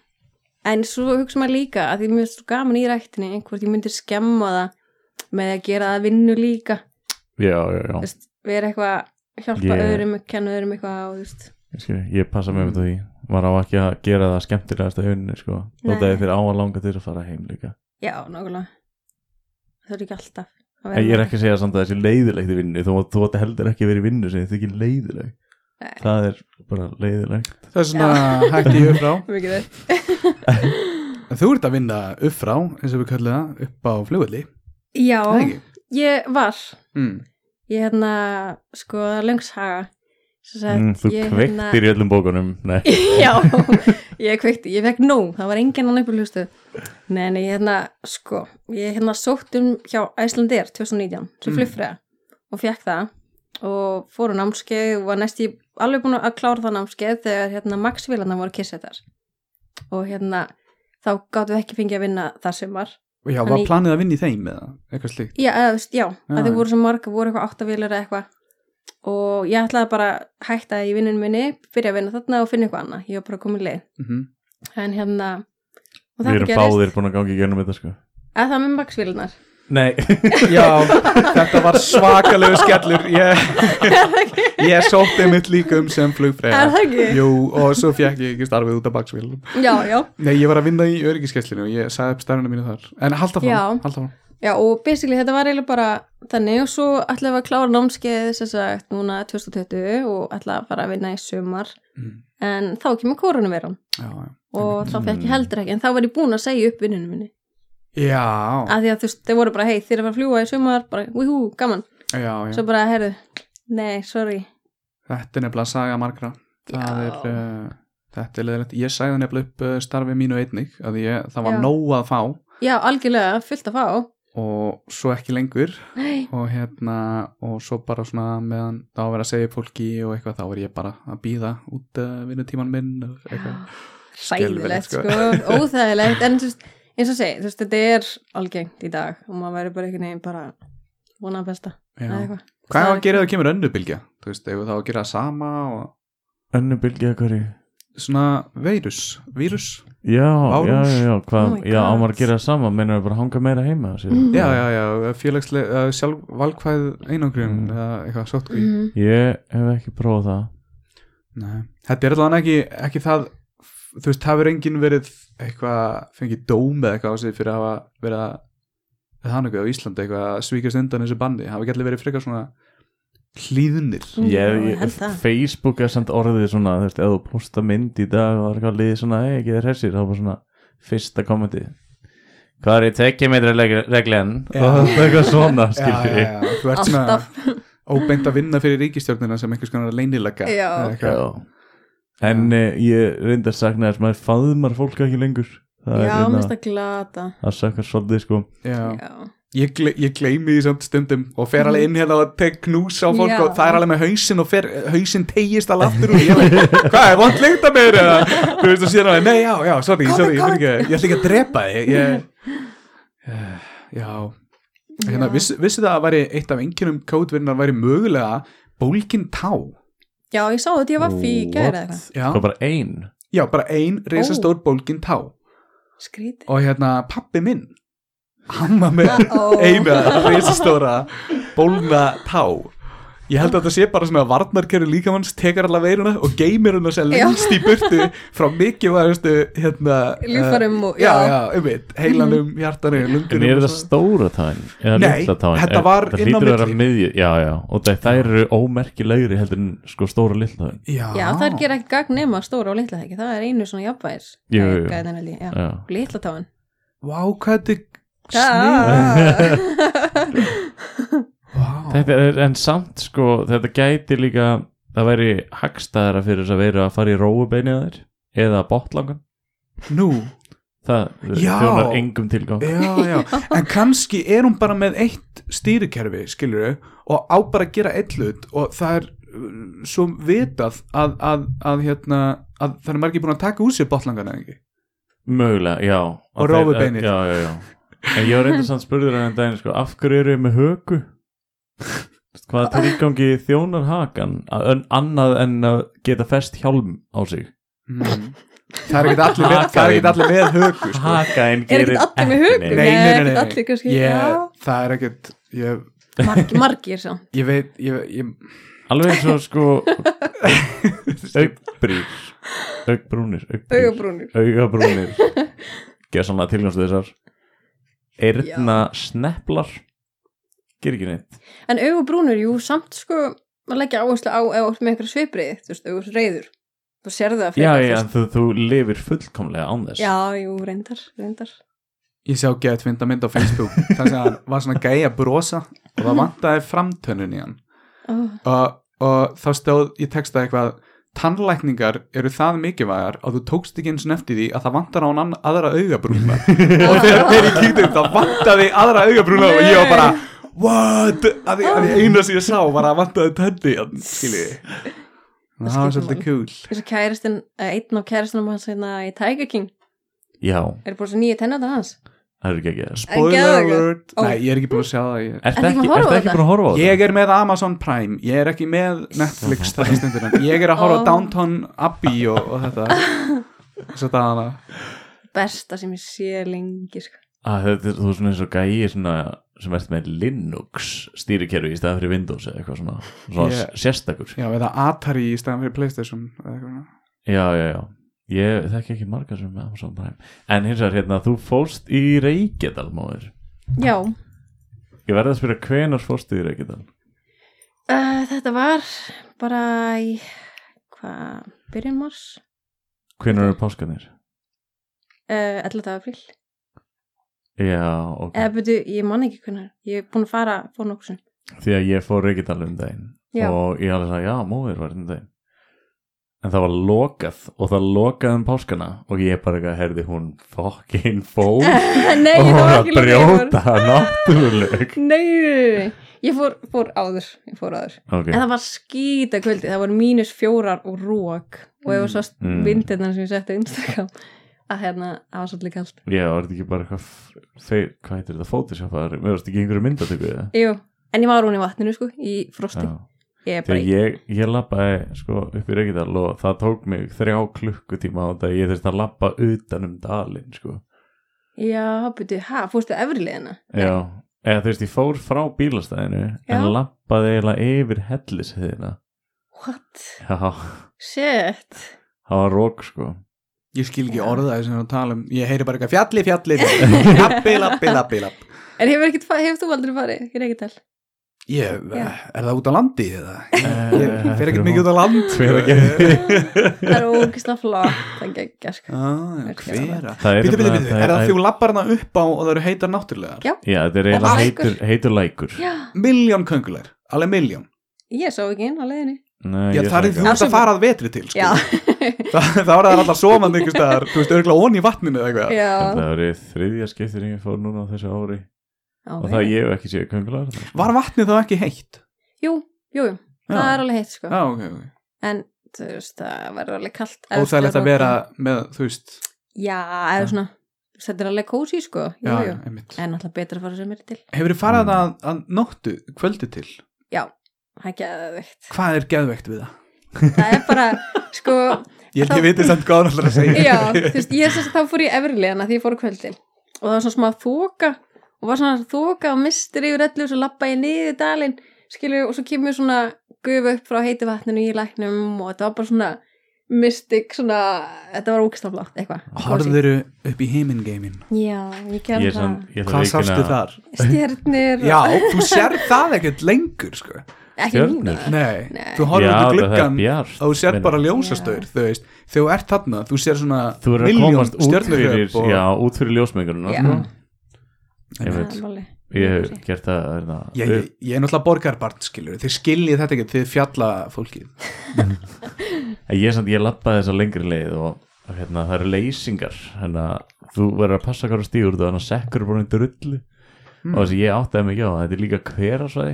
En svo hugsa maður líka að því mér finnst svo gaman í ræktinni, einhvort ég myndi skemma það með að gera það að vinnu líka.
já, já, já
Þú veist, vera eitthvað, hjálpa
Ég-
öðrum, kenna öðrum eitthvað og, þú veist.
Ég skil, ég passa mig með því var á ekki að gera það skemmtilegast að unni sko,
Nei.
þótt að þér á að langa til að fara heim líka
Já, nákvæmlega. Það er ekki alltaf. að vera
en ég er
með-
ekki að segja samt að þessi leiðilegt í vinnu þú, þú átt heldur ekki að vera í vinnu sem þið ekki leiðileg
Nei.
það er bara leiðilegt
það er svona hætti ég upp frá
Mikið þess.
en þú ert að vinna upp frá, eins og við kallum það upp á flugulli
Já,
mm.
ég var, ég hérna, sko, það er löngshaga. Sem sagt,
Mm, þú
ég, hérna-
kveiktir í öllum bókunum Nei,
já, ég kveikti, ég fekk nóg, það var enginn annar upp í hlustu. Nei, nei, ég hérna, sko, ég hérna sótt um hjá Æslandir 2019, sem
Mm.
mm. flugfræða og fekk það og fór á námskeið og var næst í alveg búin að klára það námskeið þegar hérna Max Vilanar voru kissettar og hérna þá gáttum við ekki fengið að vinna það sumar.
Já,
Hann
var
í-
planið að vinna í þeim eða eitthvað slíkt?
Já, eða, þú veist, já,
Já,
að þau
já.
voru svo marga, voru eitthvað áttavílar eða eitthvað og ég ætlaði bara að hætta í vinnun minni, byrja að vinna þarna og finna eitthvað annað, ég var bara komin leið
Mm
en hérna og
við
þetta
erum
gerist
báðir búin að gangi í gennum þetta sko
að það með maksvílunar
Nei,
Já, þetta var svakalegu skellur. Ég, ég sótti mitt líka um sem
er
flugfræða.
það ekki?
Jú, og svo fekk ég ekki starfið út af baksvílum.
Já, já,
Nei, ég var að vinna í öryggiskesslinu og ég sagði upp starfinu mínu þar. En halda fram,
Já.
halda fram.
já og basically þetta var eiginlega bara þannig og svo ætlaði að klára námskeið sem sagt núna 2020 og ætlaði að fara að vinna í sumar
Mm.
en þá kemur koronaveiran
Já, já.
og þá fekk
Mm.
ég heldur ekki en þá var ég búin að segja upp vinnunum minni
Já,
að því að þú veist, þeir voru bara hei þeir eru að fara að fljúa í sumar bara wíhú, gaman
já,
Mm.
já.
svo bara heyrðu, nei, sorry
Þetta er nefnilega saga margra. Það
Já.
er, uh, þetta er leðilegt. Ég sagði nefnilega upp uh, starfið mínu einnig, að ég, það var
Já.
nóg að fá
já, algjörlega, fullt að fá
og svo ekki lengur
nei,
og hérna og svo bara svona meðan þá að vera að segja upp fólki og eitthvað þá er ég bara að býða út uh, vinnutíman minn og eitthvað. Skelfilegt,
sæðilegt
sko.
sko, óþægilegt en þú veist, eins og segi, þú veist, þetta er algengt í dag og maður verður bara einhvern veginn bara vonað besta
Já.
eða eitthvað.
Hvað
Það
er
er
að gera ef það kemur önnubilgja? Þú veist, ef þá að gera það sama og
önnu bylgið að hverju
svona veirus, vírus?
Já, já,
Árás.
já, já, hvað,
Oh my
já,
God.
ámar að gera það sama mennum við bara að hanga meira heima sér.
Mm.
Já, já, já, félagsleg, uh, sjálf valkvæð einangrun
Mm.
eða eitthvað sótkví.
Mhm.
Ég hef ekki prófað það
Nei, þetta er allavega ekki, ekki það þú veist, það verður enginn verið eitthvað, fengið dóm eða eitthvað á sig fyrir að hafa verið að eða hann eitthvað á Íslandi eitthvað að svíkast undan þessu bandi, hafa ekki allir verið frekar svona hlýðnir
Mm,
ég,
já, ég
ég,
held það.
Facebook er samt orðið svona þú veist, ef þú posta mynd í dag og það er eitthvað liðið svona, hei, ekki þér hessir þá er bara svona fyrsta kommenti hvað er í tekja meitra reglen
Já.
og það er eitthvað
Já,
svona,
já,
skilur
já, þú ert svona
Alltaf.
óbeint að vinna fyrir ríkistjórnina sem einhvers konar leynilega
Já.
já. en já. ég reyndar sakna þess maður faðmar fólk ekki lengur
já, mér
það er
finnst
hérna,
það glata
það sökkar svolítið sko
Já.
já,
Ég, gle, ég gleymi því samt stundum og fer alveg inn hérna og tek knús á fólk
Já.
og það er alveg með hausinn og fer, hausinn tegist alveg aftur og ég er alveg, hvað er vond lengt að mér eða, þú veist og síðan alveg, nei já, já, sorry,
Kom,
sorry, ég finn
kom.
ekki ég ætla ekki að drepa þig ég, Eh, já, hérna,
Já.
vissi, vissi það að væri eitt af enginum kódvinnar væri mögulega bólkin tá,
já, ég sá þetta ég var fyrir
What?
gæra eitthvað
já,
það er bara ein
já, bara ein reisastór oh. bólkin tá
skrítið
og hérna, pappi minn hann var með
Uh-oh.
eina reisastóra bólna tá ég held að þetta sé bara svona að varnarkerri líkamanns tekar alla veiruna og geymir hún sem
Já.
lengst í burtu frá mikilvægustu hérna eh,
Líffærum og-
já,
já. Mhm.
já, um veit, heilanum, hjartanum,
en
lungunum
er
og
það
svo.
stóra tæn eða
Nei,
litla tæn
þetta var
það
inn á
hlýtur að vera
milli.
miðju já, já, og það, það eru ómerkilegri heldur en sko stóra litla tæn
já,
já, það ger ekkert gagn nema stóra og litla þekki það er einu svona jafnvæðis
Jú, jú, Eh. jú.
gæðin held ég, já,
já
litla táin
vá, hvað þetta er
Ah.
snið
það
vá,
Þetta er, en samt sko, þetta gæti líka það væri hagstæðara fyrir þess að vera að fara í róubeinið þér eða botlangan
nú
það
Já.
þjónar engum tilgang
já, já, en kannski er hún bara með eitt stýrikerfi, skilur og á bara að gera eitt hlut og það er uh, svo vitað að, að, að hérna að það er margir búin að taka úr sér botlangana ekki
mögulega, já
Og rófubeinið.
já, já, já en ég var reynda samt spurður hann en daginn sko, af hverju eru þið með höku hvaða tilgangi þjónar hakan að ön, annað en að geta fest hjálm á sig
mm. það er ekkert allir, með- það er ekkert allir með höku sko.
Er
hakainn
ekkert
gerir
allir með höku?
neitt.
nei, nei, nei, nei,
Ekkert allir kannski, já.
ég, það er ekkert ég,
margir, margir svo
ég veit, ég, ég
alveg eins og sko augbrýr augbrúnir augbrýr.
augabrúnir
augabrúnir gera svona tilgjómslu þessar erna sneplar ger ekki neitt
En augubrúnur, jú, samt sko maður leggja áherslu á eða með einhverja svipriði þú veist, augur reyður, þú sér það
já, já,
frekar,
en þú, þú lifir fullkomlega án
þú veist.
þess
já, jú, reyndar, reyndar
Ég sjá gett fynda mynd á Facebook þar sem hann var svona gæi að brosa og það vantaði framtönnun í hann
oh,
og og þá stóð í texta eitthvað tannlækningar eru það mikilvægar að þú tókst ekki eins og nefti því að það vantar á hann ann- aðra augabrúna
Ah.
og þegar þegar ég kíkti um það vantaði aðra augabrúna og ég var bara what, að því, að því eina sem ég sá var að vantaði tætti skiljiði það var
skiptir
svolítið kúl
eins og kæristinn, eh, einn af kæristinum hans hérna í Tiger King
Já,
er bara svo nýja tennata hans
það er ekki ekki þess
spoiler
geðveikur.
alert,
Ó.
nei ég er ekki búin að sjá það ég...
Ertu
Ertu
ekki,
ekki búin að horfa
ertu
á
ekki
þetta?
búin að horfa á þetta?
Ég er með Amazon Prime, ég er ekki með Netflix þetta stundur en ég er að horfa á
Ó.
Downton Abbey og, og þetta Svo dagana
besta sem ég sé lengi sko.
Að Ah, þetta er, þú er svona eins og gæi svona, sem ert með Linux stýrikerfi í staða fyrir Windows eða eitthvað svona, svona
Ég-
sérstakur
Já, eða Atari í stæðan fyrir Playstation eða eitthvað svona.
Já, já, já Ég þekki ekki margar sem er með Amazon Prime En hins vegar hérna, þú fóst í Reykjadal móður
já,
Ég verði að spyrja hvenar fórstu í Reykjadal
uh, þetta var bara í hvað, byrjun mars
Hvenar eru páskanir?
uh, 11. apríl
Já, ok
eða byrju, ég man ekki hvernig ég er búin að fara fór nokkuð sem
Því að ég fór Reykjadal um daginn
Já.
Og ég alveg sagði, já, móður var um daginn En það var lokað Og það lokaði um páskana Og ég bara eitthvað, herði hún fokkin fór
nei,
Og
ég
var
var
að
ekki lengur
brjóta náttúruleg
nei, ég fór, fór áður ég fór áður
Ok,
En það var skýta kvöldi, það voru mínus fjórar og rók og ef þú sást
Mm.
vindirnar sem ég setti á Instagram að hérna, það var svolítið kallt.
já, var þetta ekki bara eitthvað f- þeir, Hvað heitir þetta, fótusjáfaðar Mér varst ekki í einhverju myndatöku eða?
Jú, en ég var hún í vatninu sko, í frosti.
Já.
Ég er bara,
Þegar ég, ég labbaði sko, upp í Reykjadal og það tók mig þrjá klukkutíma á þetta ég þurfti að labba utan um dalinn sko.
já, byrju, ha, fórstu efri liðina?
Já, eða þú veist, ég fór frá bílastæðinu en
Já.
lappaði eiginlega yfir hellisheyðina.
What?
Já, það
Shit.
var rók sko.
Ég skil ekki orðaði sem það tala um Ég heyri bara eitthvað fjalli, fjalli Lappi, lappi, lappi, lappi
En hefur, ekkit, fa- hefur þú aldrei farið? Ég er ekki tal.
Ég, eh,
Já.
er það út á landi eða? Ég,
Eh,
ég fer
fyrir
ekkert mikið út á Eh, land
Hver að
Það er ógislega flott, það geggja sko.
Ah, hvera
Það er
Býtu, býtu,
nefnilega-
býtu, er það því hún lappar hana upp á og það eru heitar náttúrulegar?
Já.
Já, þetta er
Og
eiginlega
lækur.
heitur, heitur lækur.
Já,
Miljón köngulegar, alveg miljón
ég sá ekki inn á leiðinni.
Nei,
Já,
ég
það
sagði
er þú
ekki.
Já,
ert að
sem-
fara að vetri til sko.
Já,
Þa, það var það alltaf sofandi einhvers staðar, þú veist, örgulega onni í vatninu eða eitthvað.
Það
já.
verið þriðja skiptir sem ég fór núna á þessu ári og það
Ok.
ég hef ekki séu köngular sko.
Var vatnið þá ekki heitt?
Jú, jú, jú,
Já,
það er alveg heitt sko.
Já, ok, ok.
en þú veist, það verður alveg kallt
Óþægilegt að vera með, þú veist,
já, eða svona, þetta er alveg kósi sko, jú,
já,
jú.
einmitt.
en alltaf betra að fara sem er til
Hefur þið farið
Mm.
að, að nóttu, kvöldi til?
það er geðveikt,
Hvað er geðveikt við það?
það er bara sko,
Ég held ég viti samt hvað hann alltaf að segja.
já, þú veist, ég sérst þá fór ég efrilegana því ég fór á kvöldin og það var svona smá þoka og var svona þoka og mistur yfir öllu og svo lappa ég niður dalinn, skilju, og svo kemur svona gufu upp frá heiti vatninu í læknum og þetta var bara svona mystik, svona, þetta var ógstaflátt eitthvað, kósí.
Horður upp í heimingeimin.
já, ég
Ég
gerði
er sann,
það
ég
Hvað sástu þar?
stjörnir
Já, þú sér það ekkert lengur, sko.
ekki núna
Stjörnur?
Nei,
Nei.
þú
Já,
horfður út í
það er
gluggan
bjart
og þú sér
meina.
bara ljósastaur, þú veist. Þegar þú ert þarna, þú sér svona
Þú verður að
miljón
komast út fyrir,
stjörnuhjöp og...
já, út fyrir ljósmengunum
Já.
Ég veit, ég hef gert það hérna,
Ég, ég, ég er náttúrulega borgarbarn, skilur, þið skiljið þetta ekki, þið fjalla fólkið.
En ég, samt, ég lappaði þessa lengri leið og, og hérna, það eru leysingar hérna, þú verður að passa hvað þú stígur þú þannig að sekkur er bara undir rullu
Mm.
og þess að ég áttaði mig ekki á að þetta er líka hverasvæði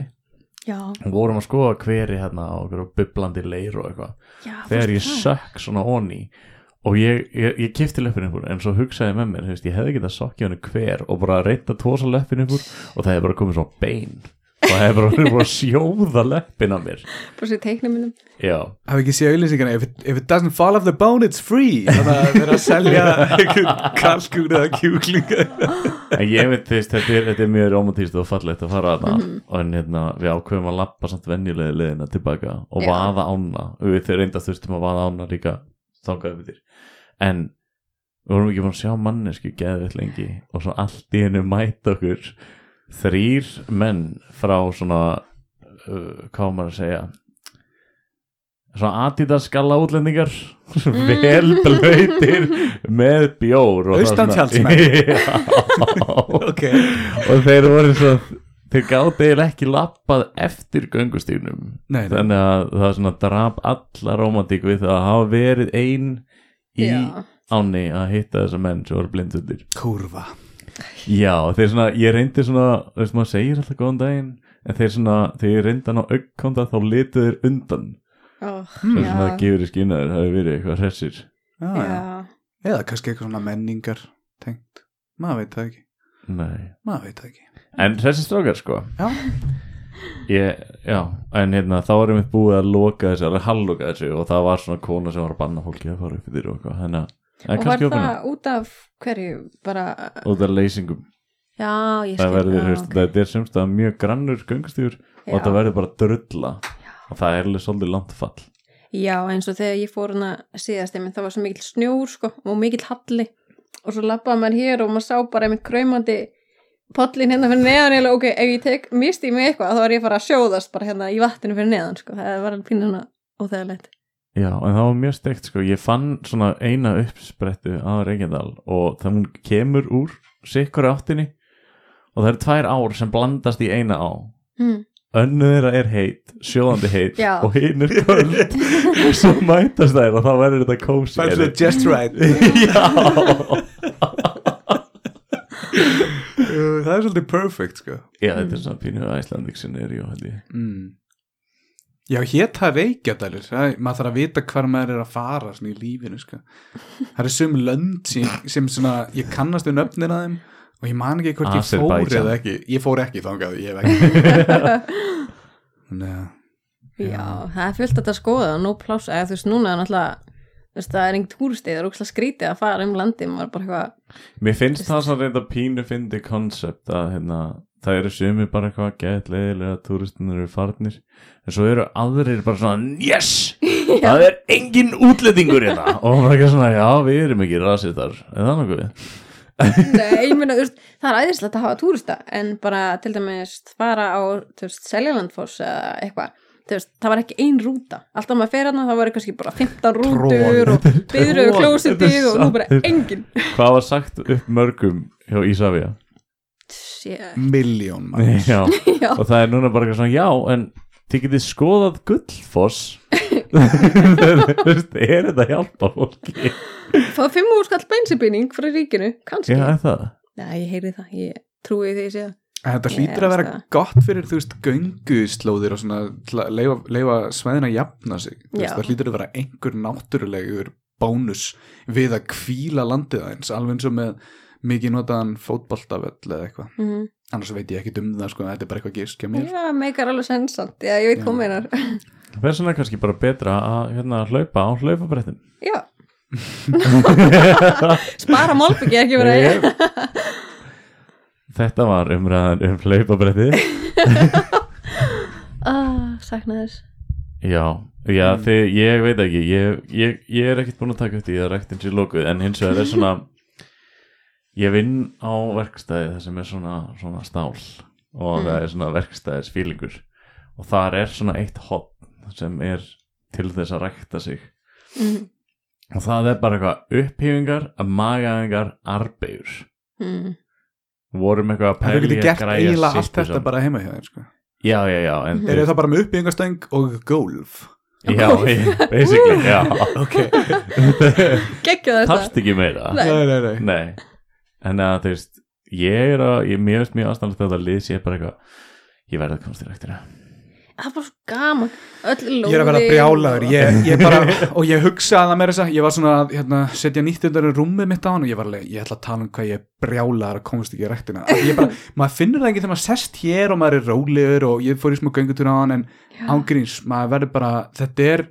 já,
og vorum að skoða hveri hérna og okkur bublandi leir og eitthvað
já,
þegar ég
fórstu það?
sökk svona onni og ég, ég, ég kifti löppin upp úr en svo hugsaði ég með mér, þú veist, ég hefði getað sokkið hann hver og bara reynt að tósa löppin upp úr og það hefði bara komið svona bein og það hefði bara verið búin að sjóða löppin að mér
bara sér teiknum minnum
já,
Haf ekki séð auðlýsingana, if, it- if it doesn't fall off the bone, it's free. Þannig að þeir eru að selja einhvern kalkun eða kjúklinga.
En ég veit þú veist, þetta er, þetta er mjög romantíst og fallegt að fara þarna
Mhm.
en hérna, við ákveðum að lappa samt venjulegi leiðina tilbaka og
Já.
vaða ána og við þeir reynda þurftum að vaða ána líka þangaði við þér en við vorum ekki búin að sjá mannesku geðvitt lengi og svo allt í hennu mæta okkur þrýr menn frá svona uh, hvað á maður að segja svona Adidas skalla útlendingar vel blöytir með bjór og það svona-
Austanfjallsmenn.
Já
Ok.
og þeir voru svo þeir gáti eiginlega ekki lappað eftir göngustígnum
Nei, nei.
þannig að það er svona drap alla romantík við það að hafa verið ein í
Já.
áni að hitta þessa menn sem voru blindundir
Kúrfa
já, þeir svona, ég reyndi svona þú veist maður segir alltaf góðan daginn en þeir svona, þegar ég reyndi hann á augkonda þá litu þeir undan
oh,
sem
já,
svona gefur í skýnaður hafi verið eitthvað hressir
Ah, já, já.
já.
Eða kannski eitthvað svona menningar tengt Maður veit það ekki
nei,
Maður veit það ekki
en hressir strókar sko
Já,
Ég, já, en hérna þá erum við búið að loka þessu, alveg halloka þessu og það var svona kona sem var að banna fólki að fara upp yfir og eitthvað, þannig að en
og var
kannski okkur
það út af hverju bara,
út af leysingum,
já, ég skil
það verður,
já,
þú veist, þetta er semst að mjög grannur göngustýr og
Já.
þetta verður bara drulla og það er alveg svolítið langt fall
Já, eins og þegar ég fór hana síðast einmitt, það var svo mikill snjór sko og mikill halli og svo lappaði maður hér og maður sá bara einmitt kraumandi pollin hérna fyrir neðan eiginlega, ok, ef ég tek, misti mig eitthvað þá er ég að fara að sjóðast bara hérna í vatninu fyrir neðan sko, það var alveg pínu hana óþægilegt.
Já, en það var mjög steikt sko, ég fann svona eina uppsprettu á Reykjadal og það hún kemur úr sikkur áttinni og það eru tvær ár sem blandast í eina á
Mm.
önnur þeirra er heit, sjóðandi heit
Já.
og hinn er köld og svo mætast þær og þá verður þetta kósi
það er svona just right
Já,
Uh, Það er svolítið perfect sko
já þetta er svona pínu Æslandik scenario held ég
mm. Já, hér það reykjadalur það, maður þarf að vita hvar maður er að fara svona í lífinu sko Það eru sum lönd sem, sem svona ég kannast við nöfnir að þeim og ég man ekki hvort ég fór
Azerbaijan.
eða ekki ég fór ekki þangað, ég hef ekki Þannig að
Já, það er fullt að þetta skoða og nú pláss, eða þú veist, núna er náttúrulega þú veist, það er engin túrstið, það er ókslega skrítið að fara um landið, maður er bara eitthvað
Mér finnst það svona reynda pínu fyndi koncept að hérna það eru sumi bara eitthvað gett leiðilega túristinur eru farnir en svo eru aðrir bara svona yes, það er engin útlendingur hérna og maður er ekki svona já, við erum ekki rasið þar en það nokkuð við
Nei, ég meina, þú veist, það er æðislegt að hafa túrista en bara til dæmis fara á þú veist, Seljalandfoss eða eitthvað þú veist, það var ekki ein rúta alltaf maður fer hana, það var kannski bara 15 rútur og byður
tron,
og klósitið
þetta er
og nú bara
samt-
engin
Hvað var sagt upp mörgum hjá Ísafja?
Shit,
miljón mann
Já,
Já.
og það er núna bara eitthvað svona já, en þið getið skoðað gullfoss Þú veist, er þetta að hjálpa fólki?
fáðu fimm úr skall beinsibýning frá ríkinu, kannski
Já, er það
Nei, ég heyri það, ég trúi því að ég sé það
En Þetta
Ég
hlýtur að vera
elska það.
gott fyrir þú veist gönguslóðir og svona til að leifa, leifa svæðin að jafna sig Þú veist,
Já.
það hlýtur að vera einhver náttúrulegur bónus við að kvíla landið aðeins alveg eins og með mikið notaðan fótboltavöll eða eitthvað
mm
annars veit ég ekkit um það sko, þetta er bara eitthvað gísk hjá mér
Já, meikar alveg sensant, já, ég veit
Já.
hvað hún meinar
Þess vegna er kannski bara betra að hérna, hlaupa á hlaupabrettin
Já Spara málbyggi ekki verið
Ég- Þetta var umræðan um hlaupabretti
að Ah, sakna þess
Já, já mm. þið, ég veit ekki ég, ég, ég er ekkert búin að taka eftir því að rektin sér lókuð en hins vegar er svona ég vinn á verkstæði það sem er svona, svona stál og það er svona verkstæðis fílingur og þar er svona eitt hotn sem er til þess að rekta sig
Mhm.
og það er bara eitthvað upphýfingar, magaðingar, arbegur
mm.
vorum eitthvað að
Það
pæli
getur gert eiginlega allt þetta bara heima hjá þér sko.
Já, já, já, en
Er það bara með uppbyggingastöng og gólf?
Já, basically, já
Ok
Gekkja þetta
Þarfst ekki meira
Nei.
Nei, nei, nei
Nei, en að þú veist ég er að, ég mjög veist mjög aðstæðanlegt að þetta lið sé bara eitthvað, ég verði að komast í rektina
Það er bara svo gaman Öll lóðin
Ég er að vera brjálaður ég, ég bara, og ég hugsaði það meira þess að ég var svona að hérna, setja nýtt undan í rúmið mitt á hann og ég var alveg, ég ætla að tala um hvað ég er brjálaður að komast ekki í rektina Af því ég bara, maður finnur það ekki þegar maður sest hér og maður er rólegur og ég fór í smá göngutúr á hann en ángríns, maður verður bara þetta er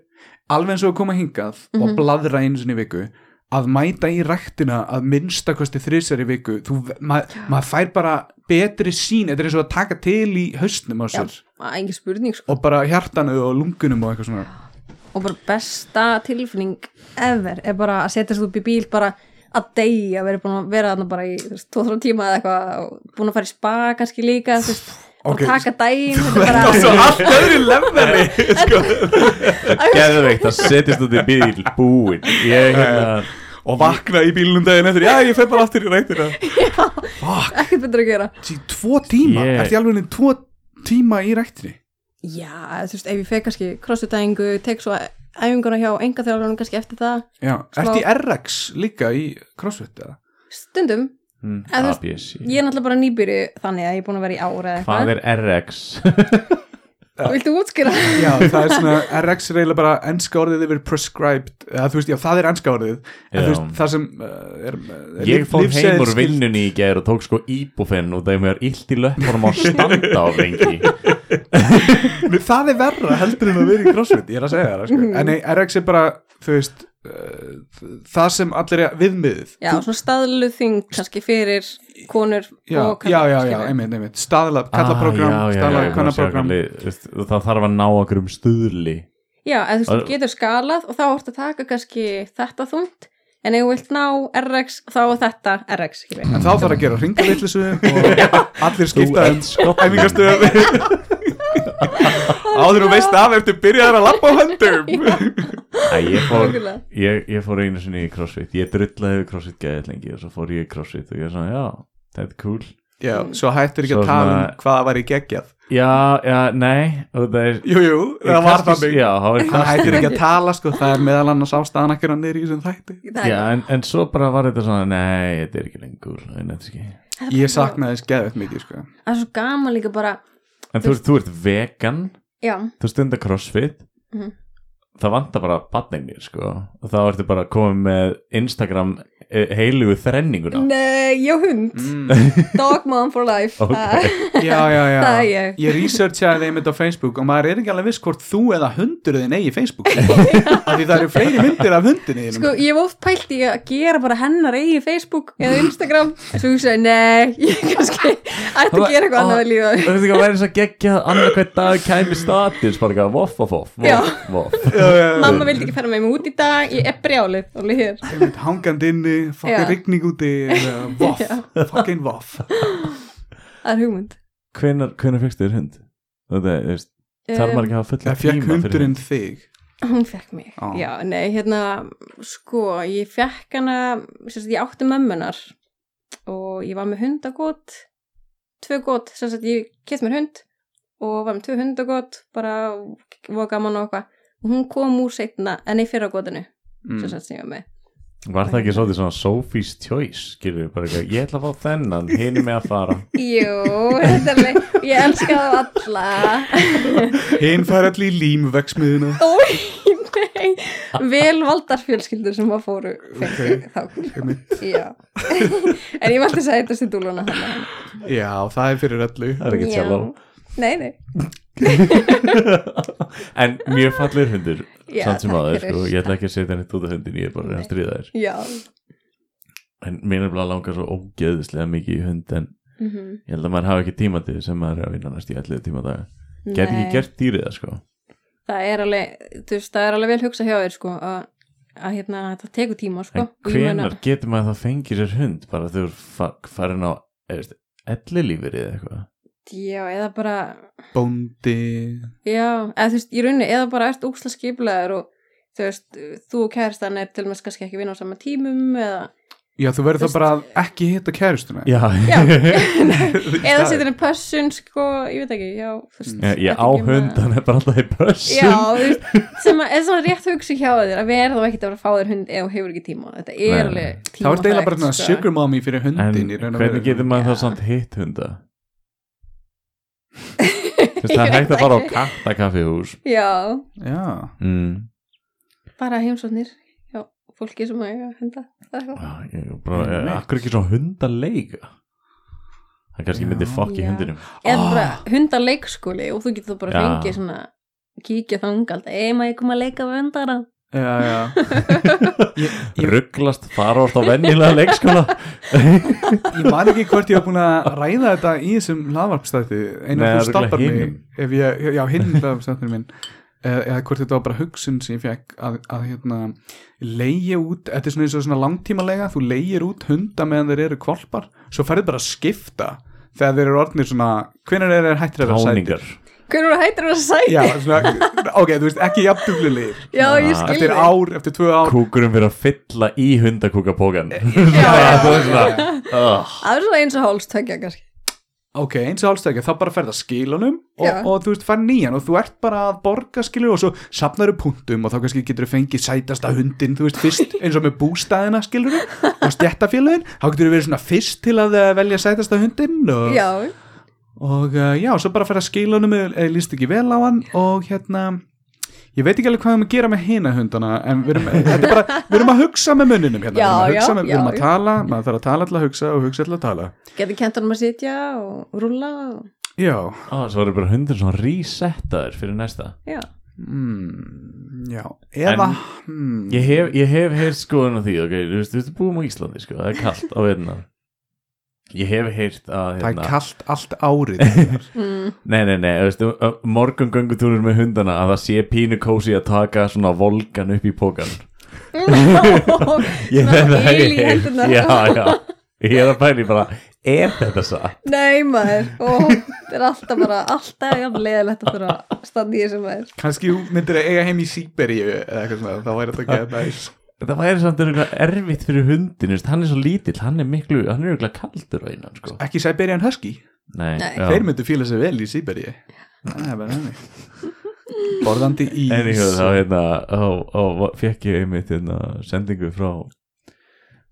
alveg eins og að koma hingað og bladra einu sinni í viku að mæta í rektina að minnstakosti þrísar í viku, þú, maður, maður fær bara betri sín, þetta er eins og að taka til í haustnum á sér
Engin spurning sko
og bara hjartanu og lungunum og eitthvað svona
Og bara besta tilfinning ever Er bara að setjast upp í bíl bara að deyja Verið búin að vera þarna bara í þú veist, 2-3 tíma eða eitthvað og Búin að fara í spa kannski líka þú veist,
Ok.
Og taka daginn Þetta er bara
svo allt öðru lefnari
Geðveikt að setjast út í bíl búin ég, hérna,
og vakna í bílunum daginn eftir, já ég fer bara aftur í ræktina fuck,
ekkert betra að gera
sí, tvo tíma,
Ég-
yeah. ertu í alveg niður tvo tíma í ræktinni
já, þú veist, ef ég feg kannski crossfit-æfingu, tek svo æfinguna hjá enga þjálfarinn kannski eftir það
já,
Smá-
ertu í RX líka í crossfit eða?
stundum,
Mm,
En þú veist,
ABC
Mhm.
ég er náttúrulega bara nýbyrju þannig að ég er búin að vera í ára eða
Hvað
eitthvað
er RX?
viltu útskýra?
já, það er svona, RX er eiginlega bara ennska orðið yfir prescribed eða þú veist, já það er ennska orðið en þú
Já.
veist, það sem uh, er, er
Ég fór heim úr
lyfseðilsskylt-
vinnunni í gær og tók sko íbúfinn og það er mér illt í löppunum að standa á lengi
Nei, það er verra heldur en að vera í crossfit ég er að segja það, sko. en nei, RX er bara þú veist, uh, það sem allir er viðmiðið
já, svona staðluð þing kannski fyrir konur
já,
og
já, já, já,
skilur.
einmitt, einmitt staðla, kallaprogram,
Ah, já, já,
staðla,
já, ég var að sjá
kannaprogram
hvernig- þú veist, Það þarf að ná okkur um stuðli
Já, eða þú veist,
Og-
þú getur skalað og þá ertu að taka kannski þetta þungt en ef þú vilt ná RX þá er þetta RX skilur við.
en þá þarf að gera ringalitlisu og allir skipta um æfingastöðum áður og veist af eftir byrjaðar að labba á höndum
Æ, ég fór,
Nákvæmlega.
ég, ég fór einu sinni í crossfit Ég drullaði við crossfit gæðið lengi og svo fór ég í crossfit og ég er svona, já, þetta er cool
já, svo hættir ekki
Svo
að tala
svona-
um hvað það var í geggjað
Já, já, nei og það er
jú, jú, það var
Kastis-
þannig
Já, það var
hann hættir
kastis-
ekki að tala, sko, það er meðal annars ástæðan að gera nýri í þessum þætti
Það
Já,
er-
en, en svo bara var þetta svona, nei, þetta er ekki lengur nei, þetta er ekki.
ég saknaði þess geðvett mikið, sko
það er svo gaman líka bara
En þú, veist, þú ert vegan
já,
þú stundar crossfit
Mhm.
það vantar bara badningir sko og þá ertu bara komið með Instagram eh, heilugu þrenninguna
nei, já hund
Mm.
dog mom for life
Ok.
Það-
já, já, já,
Það er ég.
ég researchaði þeim þetta á Facebook og maður er ekki alveg viss hvort þú eða hundurðin eigi Facebook af því það eru fleiri myndir af hundinni þínum.
sko, ég hef oft pælt í að gera bara hennar eigi Facebook eða Instagram en svo ég segi, nei, ég kannski ætti að gera eitthvað annað að lífa
þú veist Ah, ekki að væri svo geggjað annar hvern dag kæmi status bara eitthvað voff voff voff
Já.
voff voff
Já, já,
mamma vildi ekki fara með mig út í dag ég er brjálið, alveg hér
já, einmitt, hangandi inni,
Já.
fucking rigning úti eða voff, fucking voff
það er hugmynd
hvenar, hvenar fyrst þér hund? þetta er, þú veist, þarf maður ekki að hafa fulla
það fekk
tíma fyrir
hundurinn
hund.
þig
Um, Hún fekk mig,
Á.
já, nei, hérna, sko, ég fekk hana, sem sagt, ég átti mömmunar og ég var með hundagót, tvö gót, sem sagt, ég kett mér hund og var með tvö hundagót, bara var gaman og eitthvað. Og Hún kom úr seinna, en nei, fyrra gótinu, sem
mm.
sagt, sem ég var með.
var það ekki svolítið svona Sophie's Choice skilur bara eitthvað, ég ætla að fá þennan hinn með að fara
Jú, þetta er leið, ég elska þá alla.
hinn fær allir í límveksmiðuna
Ói, nei, vel valdar fjölskyldur sem að fóru fengu
Ok.
þá.
Einmitt.
Já, en ég valdi að segja þetta sem dúluna hana.
já, það er fyrir öllu
það er ekki
Já.
sjálf
Nei, nei.
En mjög fallir hundur
Já,
samt sem
takk
aður,
fyrir.
sko, ég ætla ekki að setja henni út af hundin, ég er bara að reyna að stríða þér
Já.
En mér er bara að langa svo ógeðislega mikið í hund en
Mm
ég held að maður hafa ekki tíma til þess sem maður er að vinna næst í allir tíma daga Gæti ekki gert dýrið það, sko
Það er alveg, þú veist, það er alveg vel hugsað hjá þér, sko, að, að hérna, það tekur tíma, sko.
En
Og ég meina-
hvenar getur maður það fengið sér hund bara þegar þú er farin á ellilífur eða eitthvað
Já, eða bara,
bóndi
já, eða þú veist, í rauninni, eða bara ert úksla skiplaður og, þú veist, þú og kæristan er til og með kannski ekki vinna á sama tímum eða,
já, þú verður
Veist-
þá bara að ekki hitta kæristuna
Já,
Já. eða
það
setur henni pössun, sko, ég veit ekki, já, þú veist.
Ég,
ekki
ég Mm. á
með-
hund, hann er bara alltaf í pössum
Já, þú veist, sem að, eða svona rétt hugsi hjá þér að vera þá ekkert að fara að fá þér hund eða þú hefur ekki tíma, þetta er
Nei.
alveg tíma
er deila bara svona
sko.
sugar mommy fyrir
En
hundin í raun og
hvernig
veru.
getur maður það
Já.
samt hitt hunda? Þú veist, Það er hægt að fara á kattakaffihús
Já,
já
mm.
bara heimsóknir já, fólki sem að eiga hunda eða eitthvað.
Já, ég er bara,
Einmitt.
er akkur ekki svona hundaleika það kannski
Já.
myndi fokk í
Já.
hundinum
eða bara
Ah.
hundaleikskóli og þú getur þá bara
Já.
að fengið svona kíkja þangald, ei maður ég kom að leika við hundara
já, já. ég, ég,
rugglast, fara ást á vennilega leikskóla
ég man ekki hvort ég hef búin að ræða þetta í þessum laðvarpstætti
Nei,
einar þú
örugglega
stoppar mig
hinum.
ef ég, já, hinn laðvarpstættin minn eða eða hvort þetta var bara hugsun sem ég fekk að, að hérna leigja út, þetta er svona eins og svona langtímalega þú leigir út hunda meðan þeir eru kvolpar svo færðu bara að skipta þegar þeir eru orðnir svona, hvenær er þeir hættir að vera sætir
táningar
Hvernig voru hættir að vera sæti?
Já, svona, ok, þú veist, ekki jafnduflulegir
Já, ég
Ah,
skil
Eftir ár, eftir tvö ár
kúkurum fyrir að fylla í hundakúkapókan
Eh,
já,
það er svona oh,
Það er svona eins og hálstökja kannski
Ok, eins og allstöðkja, þá bara ferð að skilunum og,
Já.
og þú veist, fær nýjan og þú ert bara að borga skilur og svo safnaru punktum og þá kannski getur þú fengið sætasta hundin, þú veist, fyrst eins og með bústæðina skilur og stjættafélagin, þá getur þú verið svona fyrst til að eh, velja sætasta hundin og,
Já,
og uh, já, svo bara ferð að skilunum eða eh, líst ekki vel á hann og hérna, ég veit ekki alveg hvað við erum að gera með hina hundana, en við erum, þetta er bara, við erum að hugsa með munninum hérna,
Já,
við erum að, hugsa
já,
með, við erum
já,
að
já.
tala, maður þarf að tala til að hugsa og hugsa til að tala.
getur kent hann um að sitja og rúlla og...
Já,
svo er bara hundur svona resetaður fyrir næsta
Já,
Mm, já, eða
En-
hmm,
ég hef, ég hef heyrt skoðun á því ok, þú veist, þú veist, búum á Íslandi sko, það er kallt á veðina ég hef heyrt að
það er
hérna,
kallt allt árið Einar.
Mm.
nei, nei, nei, þú veist, uh, morgun göngutúrur með hundana að það sé pínu kósi að taka svona volgan upp í pókan ég
Svona
veit það
yl í
ég heyrt.
hendurnar.
já, já, ég er að pæli bara er þetta satt?
Nei maður, og það er alltaf bara alltaf jafn leðilegt að þurfa að standa í þessu maður
kannski þú myndir að eiga heim í Sýberíu eða eitthvað svona, þá væri þetta ekki næs
það væri samt eitthvað erfitt fyrir hundin veist, hann er svo lítill, hann er miklu hann er eitthvað kaldur á innan sko.
ekki Siberian Husky,
nei,
Nei.
já.
þeir myndu fíla sér vel í Sýberíu það er bara hannig borðandi ís
Anywho, þá hérna á, á, fekk ég einmitt hérna, sendingu frá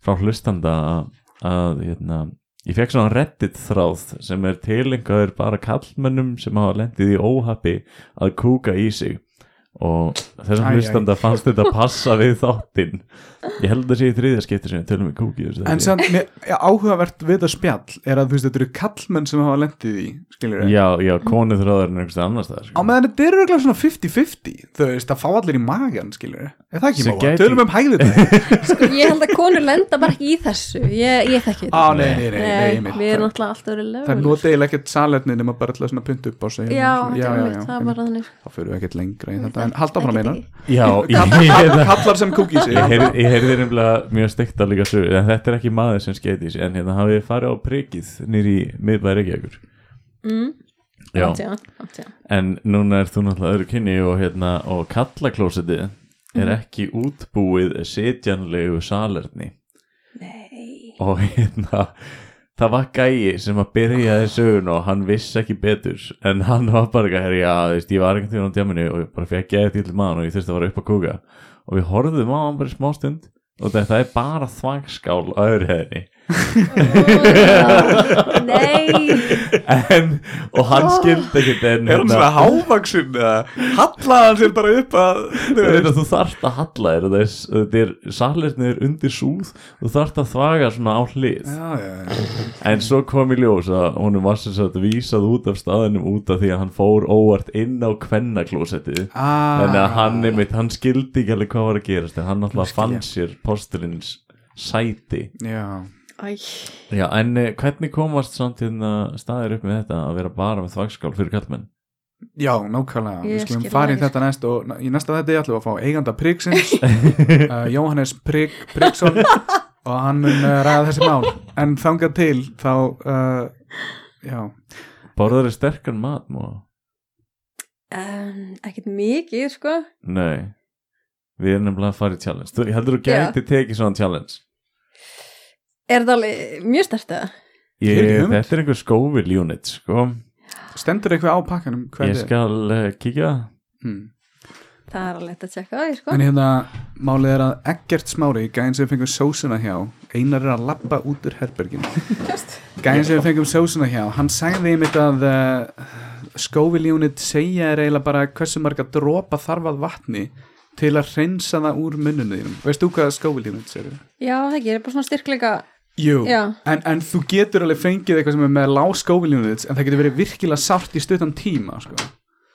frá hlustanda að- að hérna, ég fekk svona reddit þráð sem er tilengaður bara kallmönnum sem hafa lendið í óhappi að kúka í sig og þessum
Æ, æ.
hlustanda fannst þetta passa við þáttinn ég held að sé í þriðja skipti sem ég tölum við kúki í þessu
en
þætti.
sann, áhugavert við þetta spjall er að þú veist, þetta eru kallmenn sem hafa lendið í skilur við
já, já, konu þráður en einhverstað annars það
Á meðan þetta eru örugglega svona 50-50 Þú veist, það fá allir í magan, skilur Er það ekki
Sem
máa?
gæti-
Tölum um hægðið þetta
Sko, ég held að konur lenda bara ekki í þessu Ég, ég þekki þetta
Á, nei, Ah, nei, nei, nei,
Nei,
einmitt.
við erum alltaf alltaf verið
Það er
lögur
notegilega ekkert salerni nema bara alltaf svona punkt upp á sig
Já,
já,
þetta er
já,
mitt,
já,
það er
einmitt.
bara þannig
Þá fyrir við ekkert lengra í þetta en halda áfram
Ekkert
einan
ekki.
já, ég, hérna,
Kallar sem kúki sig
ég heyrði, ég heyrði nefnilega mjög steikt að líka sögur en þetta er ekki maður sem skeiti sig en hérna hafið þið farið á prikið nýri miðbæri ekki ekkur
Mm,
já,
átti hann, átti hann.
en núna er þú náttúrulega öðru kynni og hérna og kallaklósiti er ekki útbúið sitjanlegu salerni
Nei
og hérna það var gæi sem að byrjaði sögun og hann vissi ekki betur en hann var bara eitthvað, herri, já, þú veist, ég var einhvern tíðan á djáminu og ég bara fekk gæði til maður og ég þurfti að fara upp að kúka og við horfðum á hann bara í smá stund og það, það er bara þvangskál á öðru hefðinni
Ó, Nei
en, og hann skildi ekkert en hérna-
Er hann svona hávaksinn eða hallar hann sér bara upp að þú
Þú veit
veist,
að þú þarft að halla þér og það er- þetta er, salernið er undir súð þú þarft að þvaga svona á hlið
Já, já, já
En svo kom í ljós að honum var sem sagt vísað út af staðinum út af því að hann fór óvart inn á kvennaklósettið
Ah.
Þannig að hann einmitt, hann skildi ekki alveg hvað var að gerast En hann náttúrulega
Skilja.
fann sér postulins sæti
Ah, Já,
Æ,
Já, en eh, hvernig komast samt hérna staðir upp með þetta að vera bara með þvagskál fyrir kallmenn?
já, nákvæmlega Við
Ég
skulum
skil
fara í
það ekki.
þetta næst og í næsta þetta ég ætlum við að fá eiganda Pryggsins uh, Jóhannes Prygg Pryggsson og hann mun uh, ræða þessi mál en þangað til þá uh, já,
Borðar er sterkan mat, má?
um, ekkert mikið sko
Nei Við erum nefnilega að fara í challenge Þú, Ég heldur þú gæti tekið svona challenge
Er það alveg mjög stert eða?
ég,
Ég hef ekki hugmynd.
Þetta er einhver skóvil unit, sko
stendur eitthvað á pakkanum hvað
Ég
þetta er?
skal uh, kíkja það
Hmm.
Það er alveg hægt að tjekka á því sko
En hérna, málið er að Eggert Smári, gæðin sem við fengum sósuna hjá, einar er að labba út úr herberginu. Gæðin sem við fengum sósuna hjá, hann sagði einmitt að uh, Scoville Unit segja er eiginlega bara hversu marga dropa þarf að vatni til að reynsa það úr munnunum þínum. Veist þú hvað Scoville Unit segir?
Já, það ekki, er bara svona styrkleika
Jú,
Já.
en, en þú getur alveg fengið eitthvað sem er með lág Scoville Units en það getur verið virkilega sárt í stuttan tíma, sko.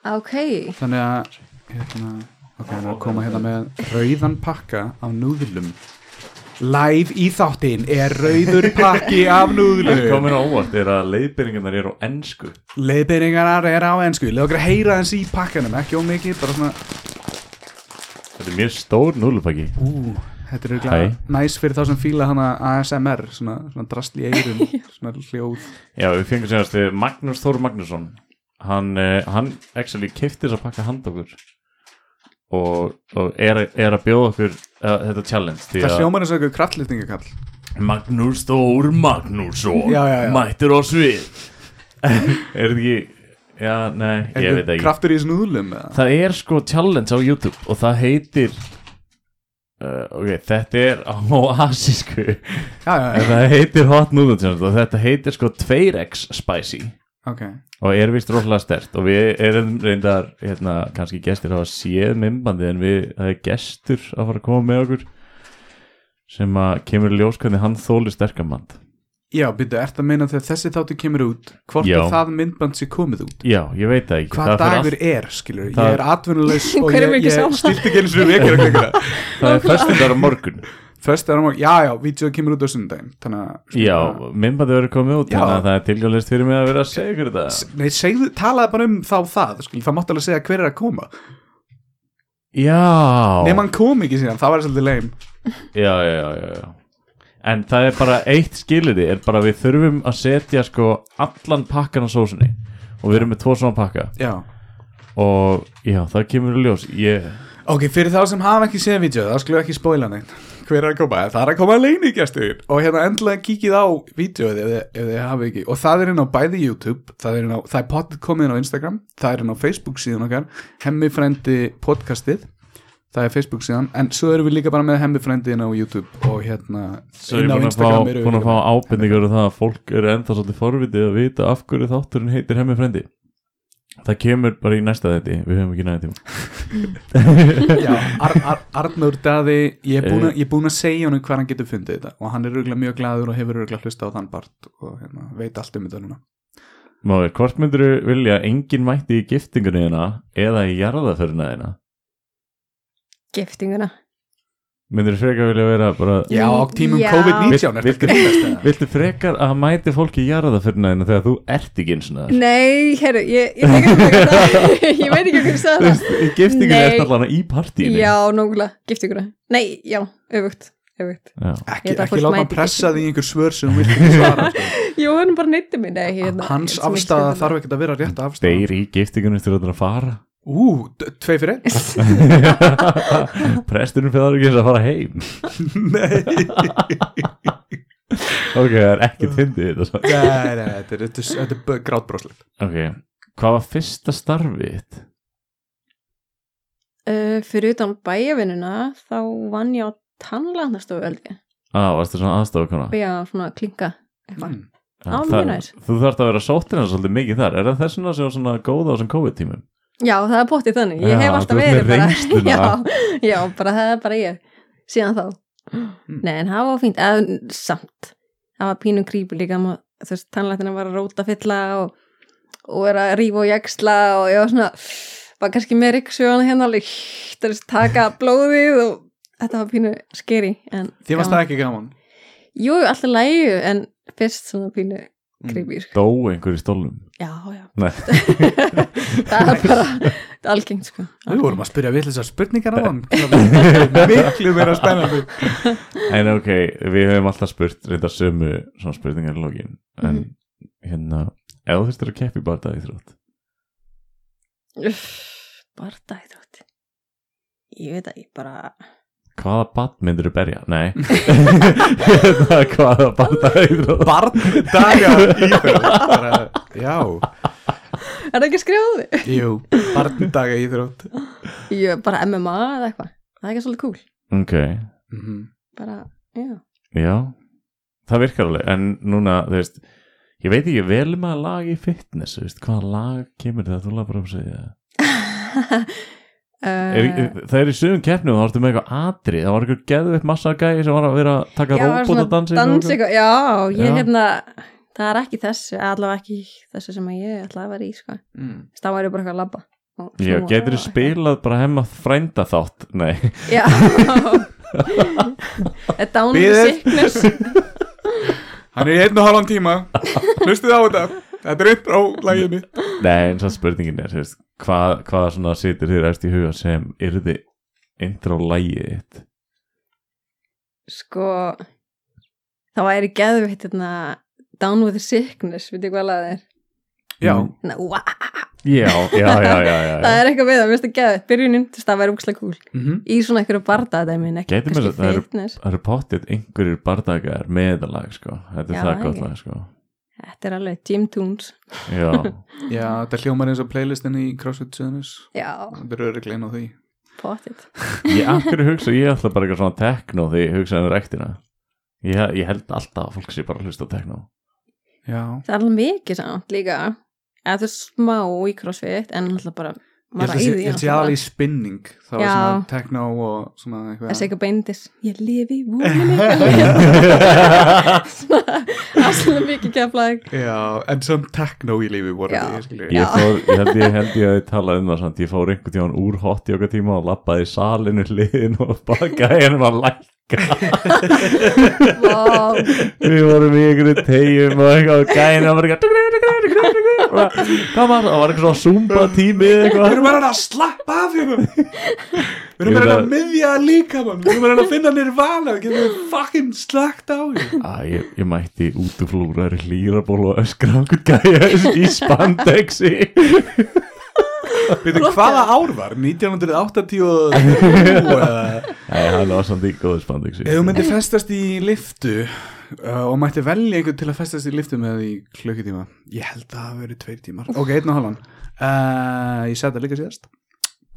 Ah, Ok,
Þannig að hérna, ok, við erum að koma hérna með rauðan pakka af núðlum Live í þáttinn er rauður pakki af
Það
núðlum
komin á óvart er að leiðbyrningarnar eru á ennsku
Leiðbeiringarar er á ennsku Leðu okkur að heyra hans í pakkanum, ekki ómikið Bara svona,
Þetta er mjög stór núlupakki
ú, þetta er
Hæ.
örugglega næs fyrir þá sem fíla hana ASMR Svona, svona drastl í eirum, svona hljóð
Já, við fengum segjast við Magnús Þór eh, Magnússon hann, eh, hann actually kefti þess að pakka hand okkur og, og er, er að bjóða okkur uh, þetta challenge því
Það
að
hljómar eins og einhver kraftlýtingakall
Magnús Þór Magnússon
Já, já, já.
mættir á svið er þetta ekki já, nei, ég veit það ekki
Kraftur í þessum úðlum eða?
það er sko challenge á YouTube og það heitir uh, ok, þetta er á asísku en
Já, já, já,
það heitir hot noodle challenge og þetta heitir sko 2x spicy
ok
og er vist rosalega stert og við erum reyndar hérna, kannski gestir hafa séð mymbandi en við, það er gestur að fara að koma með okkur sem að kemur í ljós hvernig hann þóli sterkamand
Já, byrju, ert að meina þegar þessi þáttu kemur út Hvort
Já.
er það myndband sér komið út
já, ég veit það ekki
Hvað
það fer
dagur er, skilur
Það-
Ég er atvinnulegs og
Hver er
ég,
mikið
ég
sama?
stýrti ekki eins og vekir að klika
allt- það er föstundar á morgun
Föst er á morgun, já, já, vídeo kemur út á sundaginn Þannig að
já, mymbandi verður komið út
Já.
þannig að það er tilgjálist fyrir mig að vera að segja ykkur þetta
Nei, segðu, talaði bara um þá það skilur, Það mátti alveg segja hver er að koma
já,
Nefn hann kom ekki síðan, það var svolítið leim
já, já, já, já, já en það er bara eitt skilirði er bara við þurfum að setja sko allan pakkan á sósunni og við erum með tvo svona pakka
Já
og já, það kemur í ljós ég,
Ok, fyrir þá sem hafa ekki séð vídeo, þá skulum við ekki spóila neitt Hver er að koma? Það er að koma leinigjastur Og hérna endilega kíkið á vídeoið ef, þið- ef þið hafa ekki Og það er inn á bæði YouTube Það er, inn á, það er potið komið inn á Instagram Það er inn á Facebook síðan okkar Hemmi frendi podcastið Það er Facebook síðan En svo erum við líka bara með Hemmi frendi inn á YouTube Og hérna
svo ég er búin að fá, búin að fá ábendingur og það að fólk eru ennþá svolítið forvitið að vita af hverju þátturinn heitir hemmi frendi það kemur bara í næsta þetta við höfum ekki næði tíma
Já, Ar, Ar, Arnur Daði Ég er
Eh.
búin að- ég er búin að segja honum hvað hann getur fundið þetta Og hann er röglega mjög glaður og hefur röglega hlusta á þann part Og hérna, veit allt um þetta núna
Máður, hvort myndur vilja að enginn mætti í giftingunni þina eða í jarðaföruna þina
giftinguna
myndur freka vilja vera bara
Já, á tímum
Mm, Já.
COVID-19 er
Viltu-
þetta grínast eða?
viltu frekar að mæti fólki í jarðaföruna þina þegar þú ert ekki eins og það
Nei, herru, ég, ég, tek ekki um það. ég veit ekki hvernig það er
í giftingunni
Nei.
ert allan í partíinu
Já, nógulega, giftinguna Nei, já, öfugt, öfugt
Já.
Ekki,
Ég held að
ekki
fólk
láta hann
mæti
pressa því einhver svör sem hún vil ekki svara sko.
Jú, hann bara neytti mig Nei, hérna,
Hans
sem ekki
afstæða
stundum.
þarf ekkert að vera rétt afstæða
deyr í giftingunni til að fara
Ú, d- tvei fyrir einn
Presturinn fyrir það ekki eins að fara heim
Nei,
Ok, það er ekki tindið þetta svo.
nei, nei, þetta er, þetta er, þetta er b- grátbroslegt
Ok, hvað var fyrsta starfið þitt?
Uh, fyrir utan bæjavinnuna þá vann ég á tannlæknastofu held ég.
Á, ah, varstu svona aðstofakona?
og ég að svona klinka eitthvað.
Mm.
á, mjög næs.
Þú þarft að vera sóttir hans svolítið mikið þar Er það þess vegna sem var svona góð á þessum COVID-tímum?
Já, það er bóttið þannig. Ég
Já,
hef alltaf
þú ert með
verið bara,
reynsluna.
já, já, bara það er bara ég síðan þá.
Hmm.
Nei, en það var fínt, eða samt. Það var pínum grípu líka, ma- þú veist, tannlæknina var að róta fylla og, og er að rífa og jaksla og ég var svona, var kannski með ryggsjóðan hérna alveg, þú veist, taka blóðið og þetta var pínu skeri.
Þið varst það ekki gaman
Jú, alltaf lægu, en fyrst svona pínu creepy, sko.
Dó einhver í stólnum?
Já, já.
Nei.
það er bara algengt, sko.
Við vorum að spyrja villisar spurningar á hann Miklu meira spennandi
En ok, við höfum alltaf spurt reynda sömu svona spurningar í lógin En
Mhm.
hérna, ef þú þurftir að keppi bara dagið þrótt
Uff, Barda í þrótti. Ég veit að ég bara...
Hvaða bad myndir þú berja? Nei Hérna, Hvaða bad dagið þrótt?
Barn daga í þau Bara, Já,
Er það ekki skrifaði?
jú, barn daga í þrótt
Ég bara MMA eða eitthvað. Það er ekki svolítið cool.
Ok,
Mhm.
Bara, já.
Já, það virkar alveg en núna, þú veist ég veit ekki, velum að lag í fitness þú veist, hvaða lag kemur það, þú laður bara um að segja það
Uh,
er,
Eh.
það er í sögum keppnum, þá ertu með eitthvað atri, það var eitthvað geðveitt massa gæði sem var að vera að
já,
taka
var
róbót
svona
að dansa
dans eitthvað. Já, ég
Já.
hérna... Það er ekki þessu, allavega ekki þessu sem að ég ætlaði að vera í, sko.
Mm.
Það væri bara eitthvað að labba. og
Já,
snúa
getur
og
þið spilað bara hemma frænda þátt Nei,
Já A Down with
Bíðið.
sickness
Hann er í einn og halvan tíma Hlustið á þetta Þetta er upp á læginni
nei eins og spurningin er þú veist, hvað, hvað svona situr þér eftir í huga sem yrði intro lægið þitt
Sko Það væri geðvitt hérna Down with sickness, veit ég hvað að það er
Já,
Hérna, wah,
já, já, já, já, já,
það
já.
er eitthvað við það, mér finnst það geðið byrjunin til það væri úkslega kúl
mm -hmm.
í svona einhverju bardaðdæmin, ekki
Gæti mér að það
kannski
eru-
fitness
Það eru pottitt einhverjir bardagar meðalag sko, þetta er
Já,
það gott
ekki.
lag sko
þetta er alveg Jim Toons
Já,
Já, þetta hljómar eins og playlistin í CrossFit Suðunis
já,
Það er öruglein á því
pottit
ég akkur hugsa ég ætla bara eitthvað svona tekno því ég hugsa hennar rektina ég, ég held alltaf að fólk sé bara að hlusta á tekno
Já,
það er alveg mikið samt líka eða þú er smá í crossfit en alltaf bara
ég
maður
held að
ræði
sé- ég held að sé aðal í spinning Það var
Já.
svona techno og svona
það sé
eitthvað
ekki beindis ég lifi í vúlinni alltaf mikið keflaði
Já, en samt techno í lífi voru
Já.
því, ég skilur
Ég, fór, ég, held, ég held ég að ég talaði um það samt, ég fór einhvern tíðan úr hot í okkar tíma og lappaði í salinu hliðin og bakaði hennum að lækka Við vorum í einhverju tegjum og eitthvað og gæna var eitthvað Hvað var það? Það var eitthvað svona zumba tími eða
Við
eitthvað
erum að reyna að slappa af hérna Við erum að
Ég vil
reyna
að-
að miðja líka mann Við erum að reyna að finna nirvana Við getum fucking slagt á því
Æ, ég, ég mætti út úr flúraður hlýraból og öskra á einhvern gæja í spandexi
Veitum hvaða ár var? 1980 og
Nei, hann var samt í góðu spandexi
Ef þú myndir festast í liftu uh, og mætti velja einhvern til að festast í liftu með því klukkutíma ég held að það hafi verið tveir tímar ok, einn og halvan uh, ég seti það líka síðast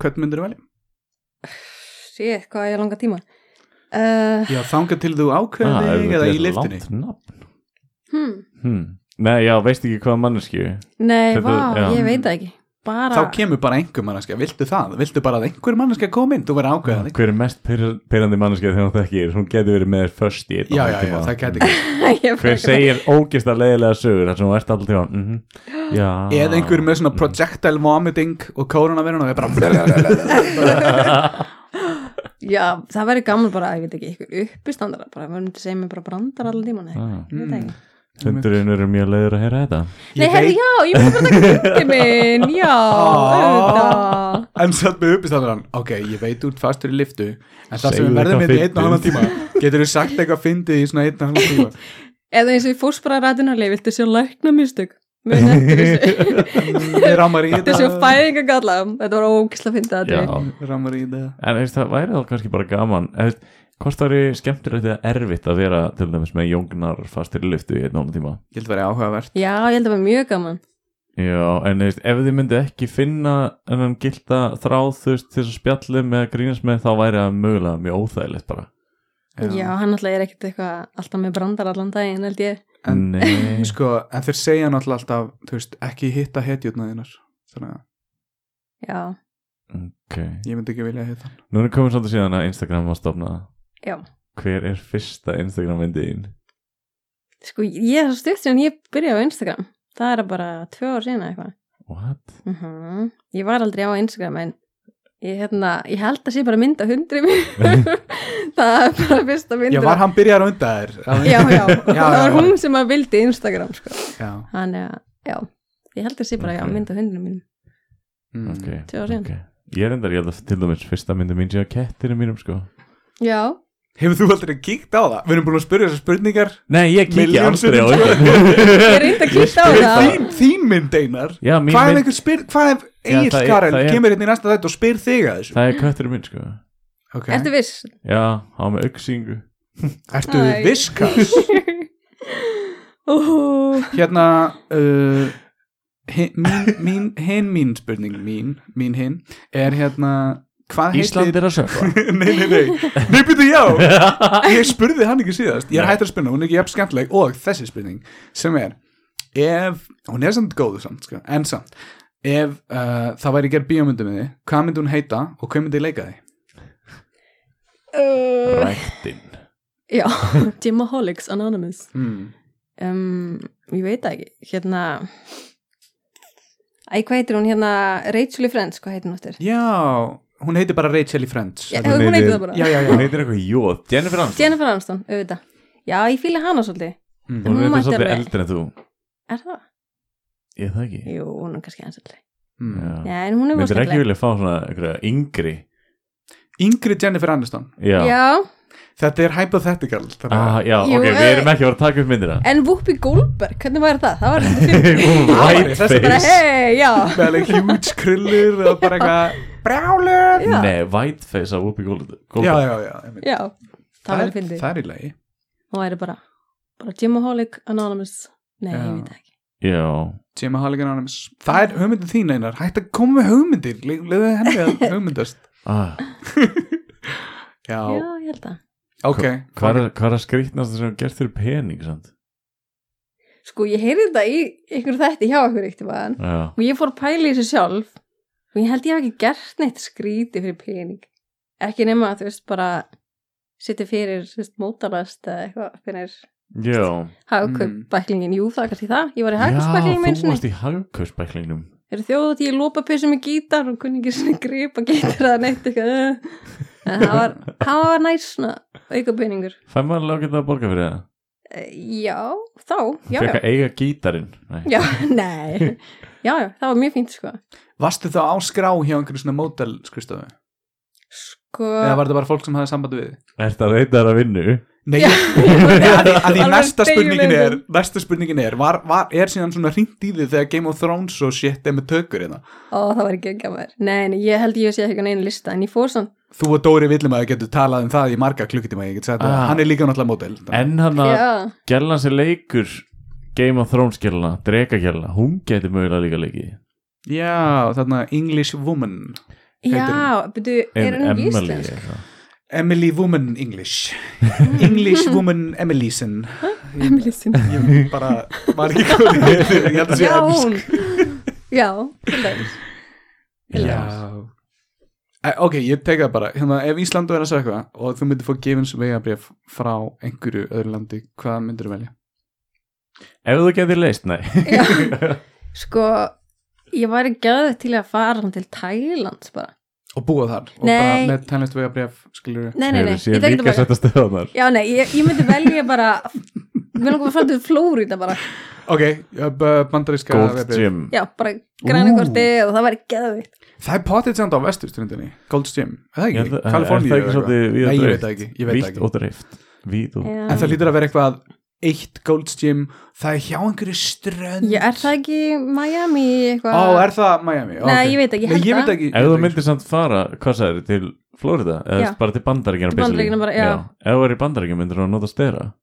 hvern myndir þú velja?
sé hvað ég langa tíma uh,
Já, þanga til þú ákveður
Ah,
þig
þetta
eða í
er
liftunni
langt nafn.
hmm.
Hmm. Nei, já, veist ekki hvað manneskju
nei,
Þetta- já.
vá, ég veit það ekki bara,
þá kemur bara einhver manneskja, viltu það? viltu bara að einhver manneskja komi inn, þú verður ákveðað
Hver er mest pyrr- pyrrandi manneskja þegar hún þekkir Hún getur verið með þér först í
já,
einn og
já,
hálfan
já,
tíma.
það gæti ekki
ég
Hver segir ógist að leiðilega sögur þar sem hún ert alltaf tíma mm Já
eða einhver með svona projectile vomiting og koronavirun og ég bara
Já, það væri gaman bara, ég veit ekki, ykkur uppistandara bara, maður myndi segja mér bara brandar allan tíman eða
Ah,
eitthvað, ég veit það ekki.
Hundurinn eru mjög leiður að heyra þetta
Nei, herri, já, ég myndi bara taka hundi minn, já, auðvitað.
En satt með uppistæðan Ok, ég veit út fastur í liftu En það sem
Segðu
við verðum
eitthvað
við í einn og halvan
fyndið.
tíma Getur þú sagt eitthvað fyndið í svona einn og halvan tíma
Eða eins og ég fórst bara að ræðinarlega, viltu sjá lækna mistök? Mun eftir þessu,
Mér rámar í
viltu sjá
þetta
fæðingagalla? Þetta var ógisla fyndið að
Já.
þetta.
Mér Rámar í þetta
En veist, það væri þá kannski bara gaman Eða, veist, Hvort það eru skemmtilegt eða erfitt að vera til dæmis með jóngnar fastir í lyftu í einn og hálfum tíma
Ég held að vera áhugavert
Já, ég held að það var mjög gaman.
Já, en þú veist, ef þið myndið ekki finna ennum gilda þráð þú veist til þess að spjalli með að grínast með þá væri það mögulega mjög óþægilegt bara
Já, hann alltaf er ekkert eitthvað alltaf með brandar allan daginn, held ég.
En-
Nei,
Sko, en þeir segja náttúrulega alltaf Þú veist, ekki hitta hetjutna þínar Þannig að
Já,
ok
ég myndi ekki vilja hitta hann
Nú erum komin svolítið síðan að Instagram var stofnað
já.
Hver er fyrsta Instagram myndið þín?
Sko, ég er svo stutt sem ég byrjaði á Instagram. Það er bara tvö ár síðan eða eitthvað.
What?
Uh Ég var aldrei á Instagram en ég, hérna, ég held að sé bara mynd af hundri mér. það er bara fyrsta myndur.
Já, var hann byrjar á undan þér
Já, já,
Já,
það var
já.
hún sem að vildi Instagram, sko.
Já,
Þannig að, já, ég held að sé bara
Ok.
já, mynd af hundinu mínum.
mm.
Ok,
Tvö ár síðan.
ok Ég er endar, ég held að til dæmis fyrsta myndið mín sé á kettinu mínum sko
Já,
Hefur þú aldrei kíkt á það? Við erum búin að spyrja þessar spurningar
Nei, ég kíkja
Milljón
aldrei á
sinnum.
ég
þetta
reyndi að kýta á
Er
það.
þín- Þín mynd einar
Já, mín
Hvað ef
mynd,
einhver spyr, hvað ef
Já,
Egil
það er-
Karel
það er-
kemur hérna í næsta þetta og spyr þig að þessu
það er kötturinn minn sko
Ok.
Ertu viss?
Já, hann var með auksingu
Ertu
Æ.
viskas?
Ó,
Hérna uh, hin, mín, mín, hin mín spurning mín, mín hin er hérna hvað
Ísland
heitir
er að sökva
Nei, nei, nei, nei, byrju já Ég spurði hann ekki síðast, ég er hættur að spurna hún er ekki jafn skemmtileg og þessi spurning sem er, ef hún er samt góð samt, sko, en samt ef uh, það væri gerð bíómyndu með þið hvað myndi hún heita og hvað myndi leika þið?
uh,
Ræktinn
Já, Gymaholics Anonymous.
Hmm.
Mm.
um, ég veit það ekki hérna æ, hvað heitir hún hérna Rachel í Friends, hvað heitir hún eftir
Já, hún heitir bara Rachel í Friends
Já, hún heitir það bara.
Já, já, já
Hún heitir eitthvað Jóð, Jennifer Aniston
Jennifer Aniston, auðvitað já, ég fíla hana svolítið,
Mm.
Hún
Hún
er
mætti
eitthvað svolítið
alveg.
eldri en þú
er það?
Ég það ekki
Jú, hún er kannski aðeins eldri
Mm.
Já.
já, en hún er
Myndir ekki
skemmtileg.
vilja fá svona einhverja yngri
Yngri Jennifer Aniston
Já,
já,
Þetta er hypothetical þannig
ah,
að-
Já,
Jú,
ok, við
eh,
erum ekki voru að taka upp myndina
En Whoopi Goldberg, hvernig væri það? Það var þetta fyrir
Þessi
bara,
Whiteface
hei, já
með alveg huge krillur og bara eitthvað brjálur
Já,
Nei, Whiteface á Whoopi Gold-
já,
Goldberg
já, já einmitt.
já, það
er-
væri fyndið
það er í lagi
Hún væri bara, bara Gymaholic Anonymous Nei,
Já.
ég veit það ekki
Já,
Gemma Halligan Anonymous það er hugmyndin þín einar, hætt að koma með hugmyndir Le- leiðu henni að hugmyndast
ah,
já,
Já, ég held að
ok
hvað er, hvað er að skrýtnast sem er gert fyrir pening samt?
Sko, ég heyrði þetta í einhverju þætti hjá ykkur eitt mann
Já,
og ég fór að pæla í þessu sjálf og ég held ég hafi ekki gert neitt skríti fyrir pening ekki nema að þú veist bara sitja fyrir þú veist, mótalast eða eitthvað fyrir
já
hagkaup
Mm.
bæklingin, jú það er kannski það ég var í
Já,
hagkaupsbæklingin minn
þú
sinni
varst í hagkaupsbæklingnum
eru þjóðat ég lópa pysum með gítar og kunni ekki svona gripa gítar eða neitt eitthvað eh. en það var, það var næst svona auka peningur
Fær maður alveg að borga fyrir það?
Eh, já, þá, já,
Fekk
já
að eiga gítarinn Nei.
já, nei já, já, það var mjög fínt sko
varstu þá á skrá hjá einhverju svona mótel skristofu,
sko
eða var þetta bara fólk sem hafði samband við þig?
Ertu að reyta þær að vinnu?
nei,
Já.
Nei, að, því- að því
Alveg
næsta spurningin er
degilegum.
næsta spurningin er, var, var, er síðan svona hringt í því þegar Game of Thrones og shit er með tökur hérna,
Ó, það var ekki ekki að maður. Nei, nei, ég held ég sé ekki á neina lista, en ég fór svona,
þú og Dóri Villimæður getur talað um það í marga klukkutíma, ég get sagt að
Ah.
hann er líka náttúrulega mótel
En hann að
já,
Gjellan sem leikur Game of Thrones gellana, drega gellana Hún getur mögulega líka leikið
Já, þarna English Woman
já, byrju, er hann ekki
Emily
íslensk?
eitthvað.
Emily Woman English English Woman Emilyson
Emily sinni.
Ég bara, maður ekki hvað hún heitir, Ég held að sé
Já,
emsk.
hún, já, til dæmis.
Já.
Eh, Ok, ég teka það bara hérna, Ef Íslandu er að segja eitthvað og þú myndir fá gefins vegabrif frá einhverju öðru landi hvað myndir þú velja?
Ef þú getur leist, nei
Já. Sko, ég væri gæðið til að fara hann til Tælands bara.
Og búa þar og bara
Nei.
með tænlist vegabrif skilur
Nei, nei, nei, ég
Ég
tekur
líka
það bara.
setja stöðanar
Já, nei, ég, ég myndi velja bara, við langar að fara til Flóríta bara.
Ok, ja, b- bandaríska
Gold
vegabréf.
Gym
Já, bara græna korti og það væri gæðið.
Það er potið samt á vesturstrundinni Gold's Gym, er það
Já,
ekki?
það- er
Kaliforníu
það
eða
ekki
eitthvað?
svolítið víð og
Nei, ég
dreift?
veit það ekki, ég veit það
Vítt
ekki
og dreift Vítt og
En það lítur að vera eitthvað eitt Gold's Gym, það er hjá einhverju strönd
Já, er það ekki Miami eitthvað?
Ó, er það Miami? Ó,
Nei,
ok.
ég veit ekki, ég
Nei,
held
ég veit
það.
ekki
Ef þú myndir samt fara, hvað sagði til Florida?
Já.
Eða bara til bandaríkina
Til Bandaríkjanna bara, já.
Ef þú er í bandaríkina myndir þú að nota stera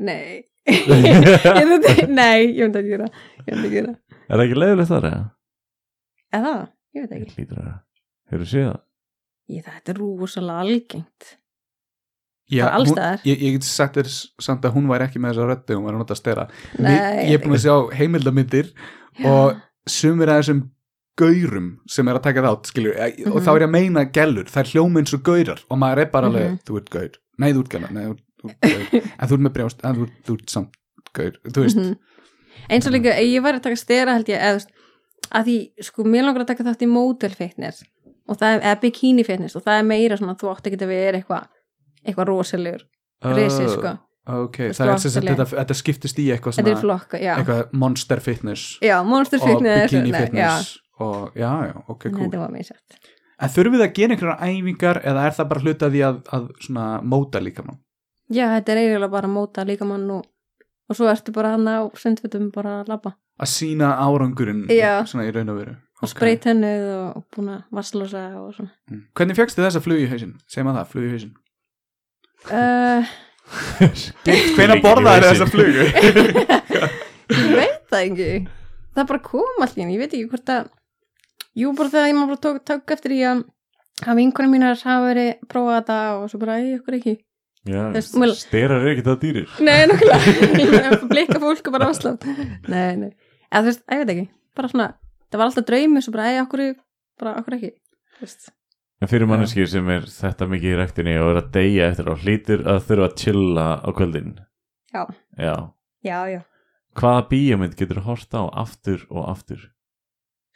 Nei Ég myndi- Nei, ég myndi ekki gera Ég myndi ekki gera
Er það ekki leiðilegt þar, eða?
Eða það, ég veit ekki
Ég lítur að vera. Hefur þú séð það?
ég, Þetta er rosalega algengt
Já,
bara alls
hún-
staðar.
Ég, ég get sagt þér s- samt að hún væri ekki með þessa röddu hún var að nota stera
Nei,
Ég ég er búin að sjá heimildamindir
Já.
og sumir að þessum gaurum sem er að taka þátt skilur,
Mhm.
og þá er ég að meina gælur það er hljóminn svo gaurar og maður er bara alveg
Mhm.
þú ert gaur, nei þú ert gæla nei, þú, þú ert gaur, en þú ert með brjóst en þú, ert- þú ert samt gaur, þú veist
Mhm. Eins og líka, ef ég væri að taka stera held ég eða, þú veist, að því, sko, mér langar að taka þátt í model fitness og það er, eða bikini fitness og það er meira svona þú átt ekki að vera eitthvað eitthvað rosalegur, risi,
Oh,
sko
ok,
veist,
það er sem sagt
rosaleg.
þetta, þetta skiptist í eitthvað
Þetta er
svona,
flokka, já
eitthvað monster fitness
Já, monster
og
fitness
bikini
nei, já.
fitness og já, já, ok,
Nei,
cool
Þetta var mér sætt
En þurfum við að gera einhverjar æfingar eða er það bara hluta af því að, að svona móta líka nú?
Já, þetta er eiginlega bara að móta líkamann og, og svo ertu bara hann á sundfittum bara að labba
Að sína árangurinn
Já.
svona í raun og veru. Ok.
og spreyt hennuð og búin að vasslosa og svona
Mm. Hvernig fjöxtu þessa flug í hausinn? Segum að það, flug í hausinn.
uh,
Hvenær borðaði þessa flugu?
ég veit það ekki það bara kom allir, ég veit ekki hvort að jú bara þegar ég maður bara tók, tók eftir í að að vinkunum mínar hafa verið prófað þetta og svo bara, ei, okkur ekki Þess-
Já,
mjög-
sterar er ekki það dýrir
nei, nokkulega, blika fólk og bara vassla nei, nei, eða þú veist, að ég veit ekki bara svona, það var alltaf draumi svo bara, ei, okkur, bara, okkur ekki þú veist,
En fyrir manneskir sem er þetta mikið í rektinni og er að deyja eftir á hlýtur að þurfa að chilla á kvöldin
Já.
Já.
já, já
Hvaða bíómynd getur hort á aftur og aftur?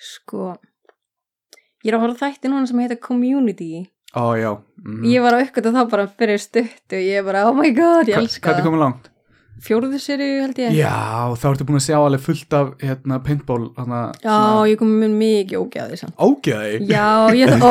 sko ég er að horfa á þætti núna sem heita Community
Ó já. Mm.
ég var á uppgötu þá bara fyrir stutt og ég bara oh my god, ég
Hva-
elska
Hvað er
það
komið langt?
fjórðu serið held ég
Já, þá ertu búin að sjá alveg fullt af hérna, paintball hana,
Já, ég kom með mikið ógæði samt
Ógæði
Já, ég ó,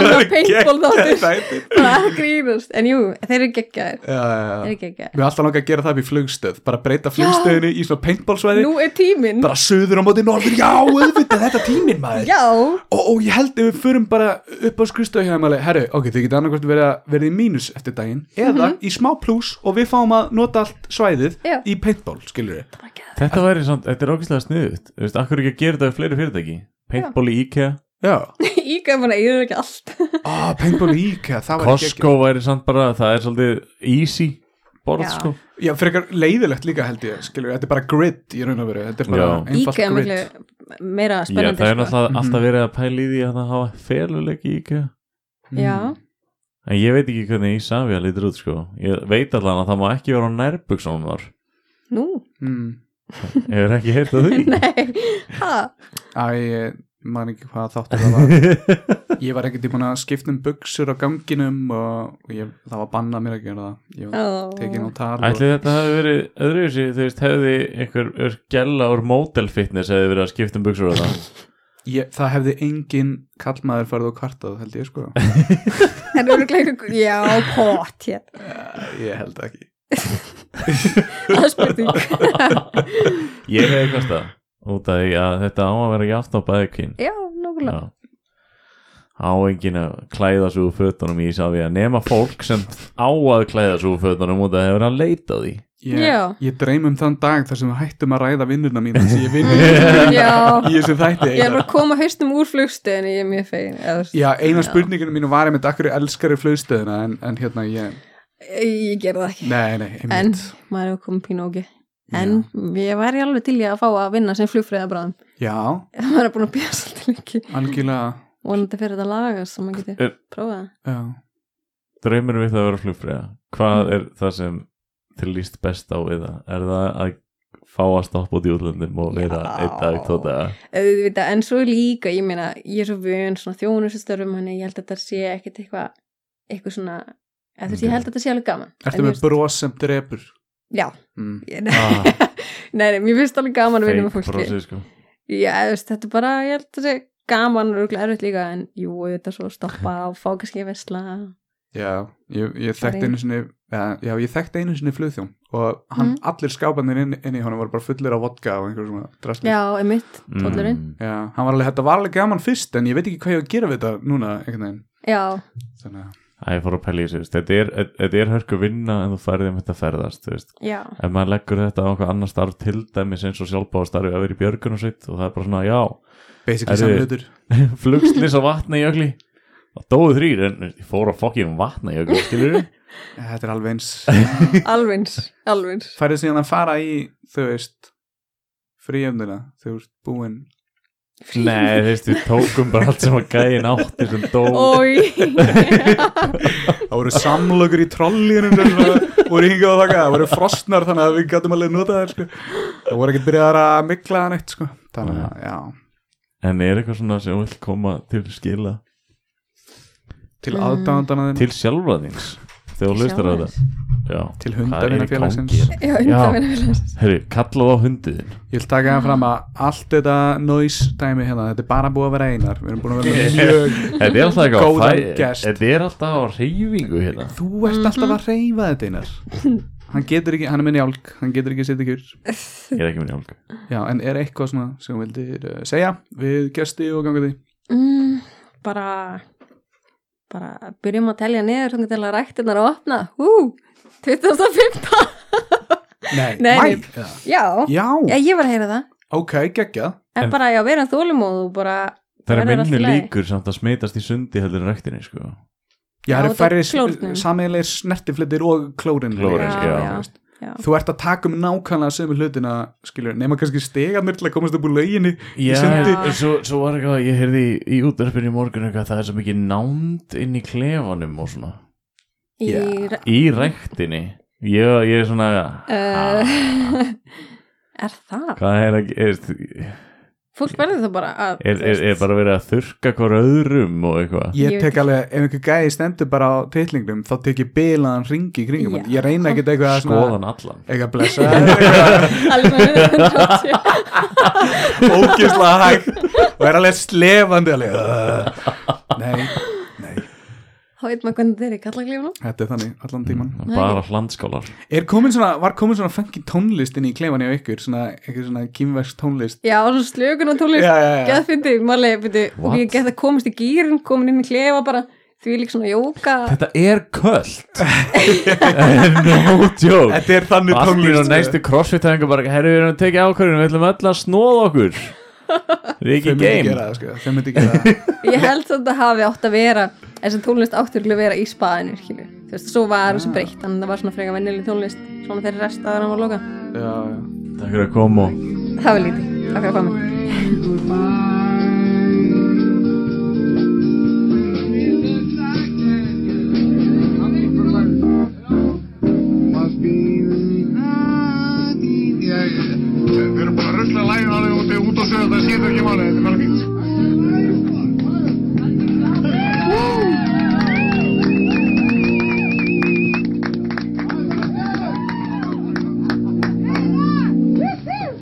annar paintball þáttur
þáttur
bara að grínast, en jú, þeir eru geggjaðir
Já,
þeir
já, já
eru geggjaðir
Við erum alltaf langa að gera það upp í flugstöð bara breyta flugstöðinu í svona paintballsvæði
Nú er tíminn
bara söður á móti norður Já, auðvitað, þetta er tíminn maður
Já,
og, og ég held ef við förum bara upp á skrifstöð hjá þeim alveg, herru, ok, þið geta annarkvæmt verið, verið í mínus eftir daginn eða í smá pluss og við fáum að nota allt svæðið
Mhm. Já.
í paintball, skilur við
Þetta væri samt, þetta er ógæslega sniðut Þú veist, akkur ekki að gera þetta við fleiri fyrirtæki Paintball í IKEA,
Já,
ígæði manna, ég er ekki allt
ah, paintball í IKEA, það var ekki
Costco væri samt bara Það er svolítið easy borð
Já.
sko
Já, frekar leiðilegt líka held ég, skilur við, þetta er bara grid í raun og veru, þetta er bara
Já.
einfalt
Ígæði
grid
miklu meira
Já,
spennandi sko.
það er náttúrulega
Mhm.
alltaf verið að pæla í því að það hafa feluleik í IKEA
Mm.
Já,
En ég veit ekki hvernig Ísafja lítur út sko Ég veit allan að það má ekki vera á nærbuksunum þar
nú,
mm.
Ég hef ekki heyrt að því
nei ha,
Æ, ég man ekki hvað þáttu það var Ég var ekkert í búin að skipta um buksur á ganginum og ég, það var bannað mér að gera það Ég var
Ó.
tekin á tal og...
Ætli þetta hefði verið öðruvísi Þú veist, hefði einhver einhver gælla úr model fitness hefði verið að skipta um buksur á það
Ég, það hefði engin kallmaður farið og kvartað, held ég sko.
En örugglega einhver- Já, pott hér
ég held ekki.
Það er spurning
Ég hefði kvartað út af því að þetta á að vera játt á bæði kyn
Já, nokkulega
Já. Á enginn að klæða svo úr fötunum í Ísafja nema fólk sem á að klæða svo úr fötunum út af því að hefur að leita að því
Ég,
Já.
ég dreym um þann dag þar sem við hættum að ræða vinnuna mína sem ég vinn
Já,
í þessu þætti.
ég er
Einar.
bara að koma haustum úr flugstöðinni, ég er mjög fegin eða, þú veist,
Já, eina spurninginu mínu var einmitt akkur elskari flöðstöðina en, en hérna ég,
Ég gerði það ekki
nei, nei, einmitt.
En maður hefur komið pínu ógi En ég væri alveg til ég að fá að vinna sem flugfræðabráðum
Já,
Maður er búin að býja svolítið lengi
algjörlega,
Vonandi fyrir þetta lagast sem maður geti
Er-
prófað það.
já.
Draumur við það að vera flugfræða Hvað er það sem til líst best á við það? Er það að fá að stoppa út í útlöndum og vera
Já.
einn dag tóta daga?
Auðvitað, En svo líka, ég meina Ég er svo vön svona þjónustörfum Þannig að ég held að þetta sé ekkit eitthvað Eitthvað svona eða, þú veist, Ég held að þetta sé alveg gaman
Ertu
En
með
mér-
bros sem drepur?
Já,
Mm.
ég, nei,
Ah,
nei, mér finnst alveg gaman að vinna með
fake
fólki
brosið, sko.
Já, þú veist, þetta er bara, ég held að þetta sé gaman og erfitt líka, en jú, þetta er svo að stoppa og fá kannski að vesla
Mm.
Já, ég, ég
Sorry.
þekkt einu sinni já, já, ég þekkt einu sinni flugþjón og hann,
Mm.
allir skápanir inn, inn í honum voru bara fullir af vodka og einhver svona drasli
Já, emitt, tóllurinn
Mm.
Já, hann var alveg, þetta var alveg gaman fyrst en ég veit ekki hvað ég á að gera við þetta núna einhvern veginn
Já,
Þannig að,
Æ, ég fór að pæla í þessu, þú veist, þetta er, þetta er hörku vinna en þú færði um þetta ferðast, þú veist.
já,
Ef maður leggur þetta á einhver annar starf til dæmis eins og sjálfbáðastarfi að vera í björgun og sitt og það er bara svona, já,
basically
Herðu,
samlutur
flugslis á vatna í ögli og dóðu þrýr, en ég fór að fokkin vatna í ögli, skilur við?
Þetta er alveg eins
alvins, alvins
Færið síðan að fara í, þú veist fríöfnina, þú veist búin
Nei, þú veist, við tókum bara allt sem að gæin átti sem dó
Ói,
Það voru samlokur í trollínum sem svona voru hingað og þakka, það voru frosnar þannig að við gætum alveg nota það sko. Það voru ekki byrjað að mikla hann eitt sko. Þannig
Ah.
að, já,
En er eitthvað svona sem vill koma til skila
til aðdándana þinn
til sjálfra þins þegar þú hlustar á
Sjálfra
þetta Já,
Til
hvað er í
hundavinafélagsins.
gangi hérna?
já, undanvinna félagsins
Herri, kallaðu á hundiðin
Ég vil taka það fram að allt þetta noise dæmi hérna, þetta er bara búið að vera einar Við erum búin að vera með mjög
Þetta er alltaf eitthvað á
Góðan
fæ-
gest.
Þetta er alltaf á reyfingu hérna
Þú ert alltaf
Mhm.
að reyfa þetta einar Hann getur ekki, hann er minni álg Hann getur ekki að setja kjur
Ég er ekki minni álgu
Já, en er eitthvað svona sem þú vildir uh, segja við gesti og ganga því
mm, Bara, bara byrjum að telja niður þannig til að ræktinnar að opna Hú, 2015
Nei, Mæ?
Nei, nei.
Já.
Já, já,
Já,
ég var að heyra það
ok, geggjað
En
En-
bara, já, verðan þólumóð og bara
Það er
verður allt í
minnu
lagi.
líkur samt að smitast í sundi heldur en rektinni sko
Já,
Já,
það eru
þetta er
færri
klórnum.
sameilegir snertiflitir og klórin
Klórinn,
Já, já.
já, þú
Já.
Þú ert að taka um nákvæmlega sömu hlutina skilur, nema kannski stegarnir til að komast upp úr lauginni
Já,
sundi.
en svo, svo var eitthvað, ég heyrði í, í útverfinu í morgun eitthvað, það er svo mikið nánd inn í klefanum og svona
Í,
Já.
re-
Í rektinni Ég, ég er svona
Eh,
ha,
Er það?
Hvað er að, ég veist
fólk verður það bara að
er, er, er bara verið að þurka hver öðrum og eitthvað
Ég
Ég
tek
veit-
alveg, ef einhver gæði stendur bara á titlingnum þá tek ég bilaðan ringi í kringum hann.
Já.
Ég reyna ekkert eitthvað að
skoðan allan
eitthvað blessa
alveg með 180
ógislega hægt og er alveg slefandi alveg "Ugh." Nei, nei,
þá veit maður hvernig þeir eru kallaglífnum
þetta er þannig allan tíman
bara hlandskálar
Er komin svona, var komin svona fengi tónlist inn í klefan hjá ykkur, svona, eitthvað svona kýmverks tónlist
já, og svo slökun á tónlist
Já, já, já.
geðfindi, maðurlega, byrju,
What?
og ég get að komast í gýrin komin inn í klefa bara því lík svona jóka
Þetta er köld No joke
Þetta er þannig
Allt í
tónlist
og næstu crossfit-tæðingu bara Herru, við erum að tekið ákvörðunum, við ætlum öll að snóða okkur Þetta er
Þau
ekki
myndi
game
gera það, sko, þau myndi gera það
ég held að þetta hafi átt að vera þessi tónlist áttur að vera í spaðinu skilju. þú veist, svo var
Ah.
þessu breytt þannig að það var svona freka vennileg tónlist svona þeirri rest að hann var loka
Já, já
Takk fyrir að koma og
það var lítið, takk fyrir að koma
Við erum bara að rusla lægin alveg út, út á söðu, það skiptir ekki máli, þetta er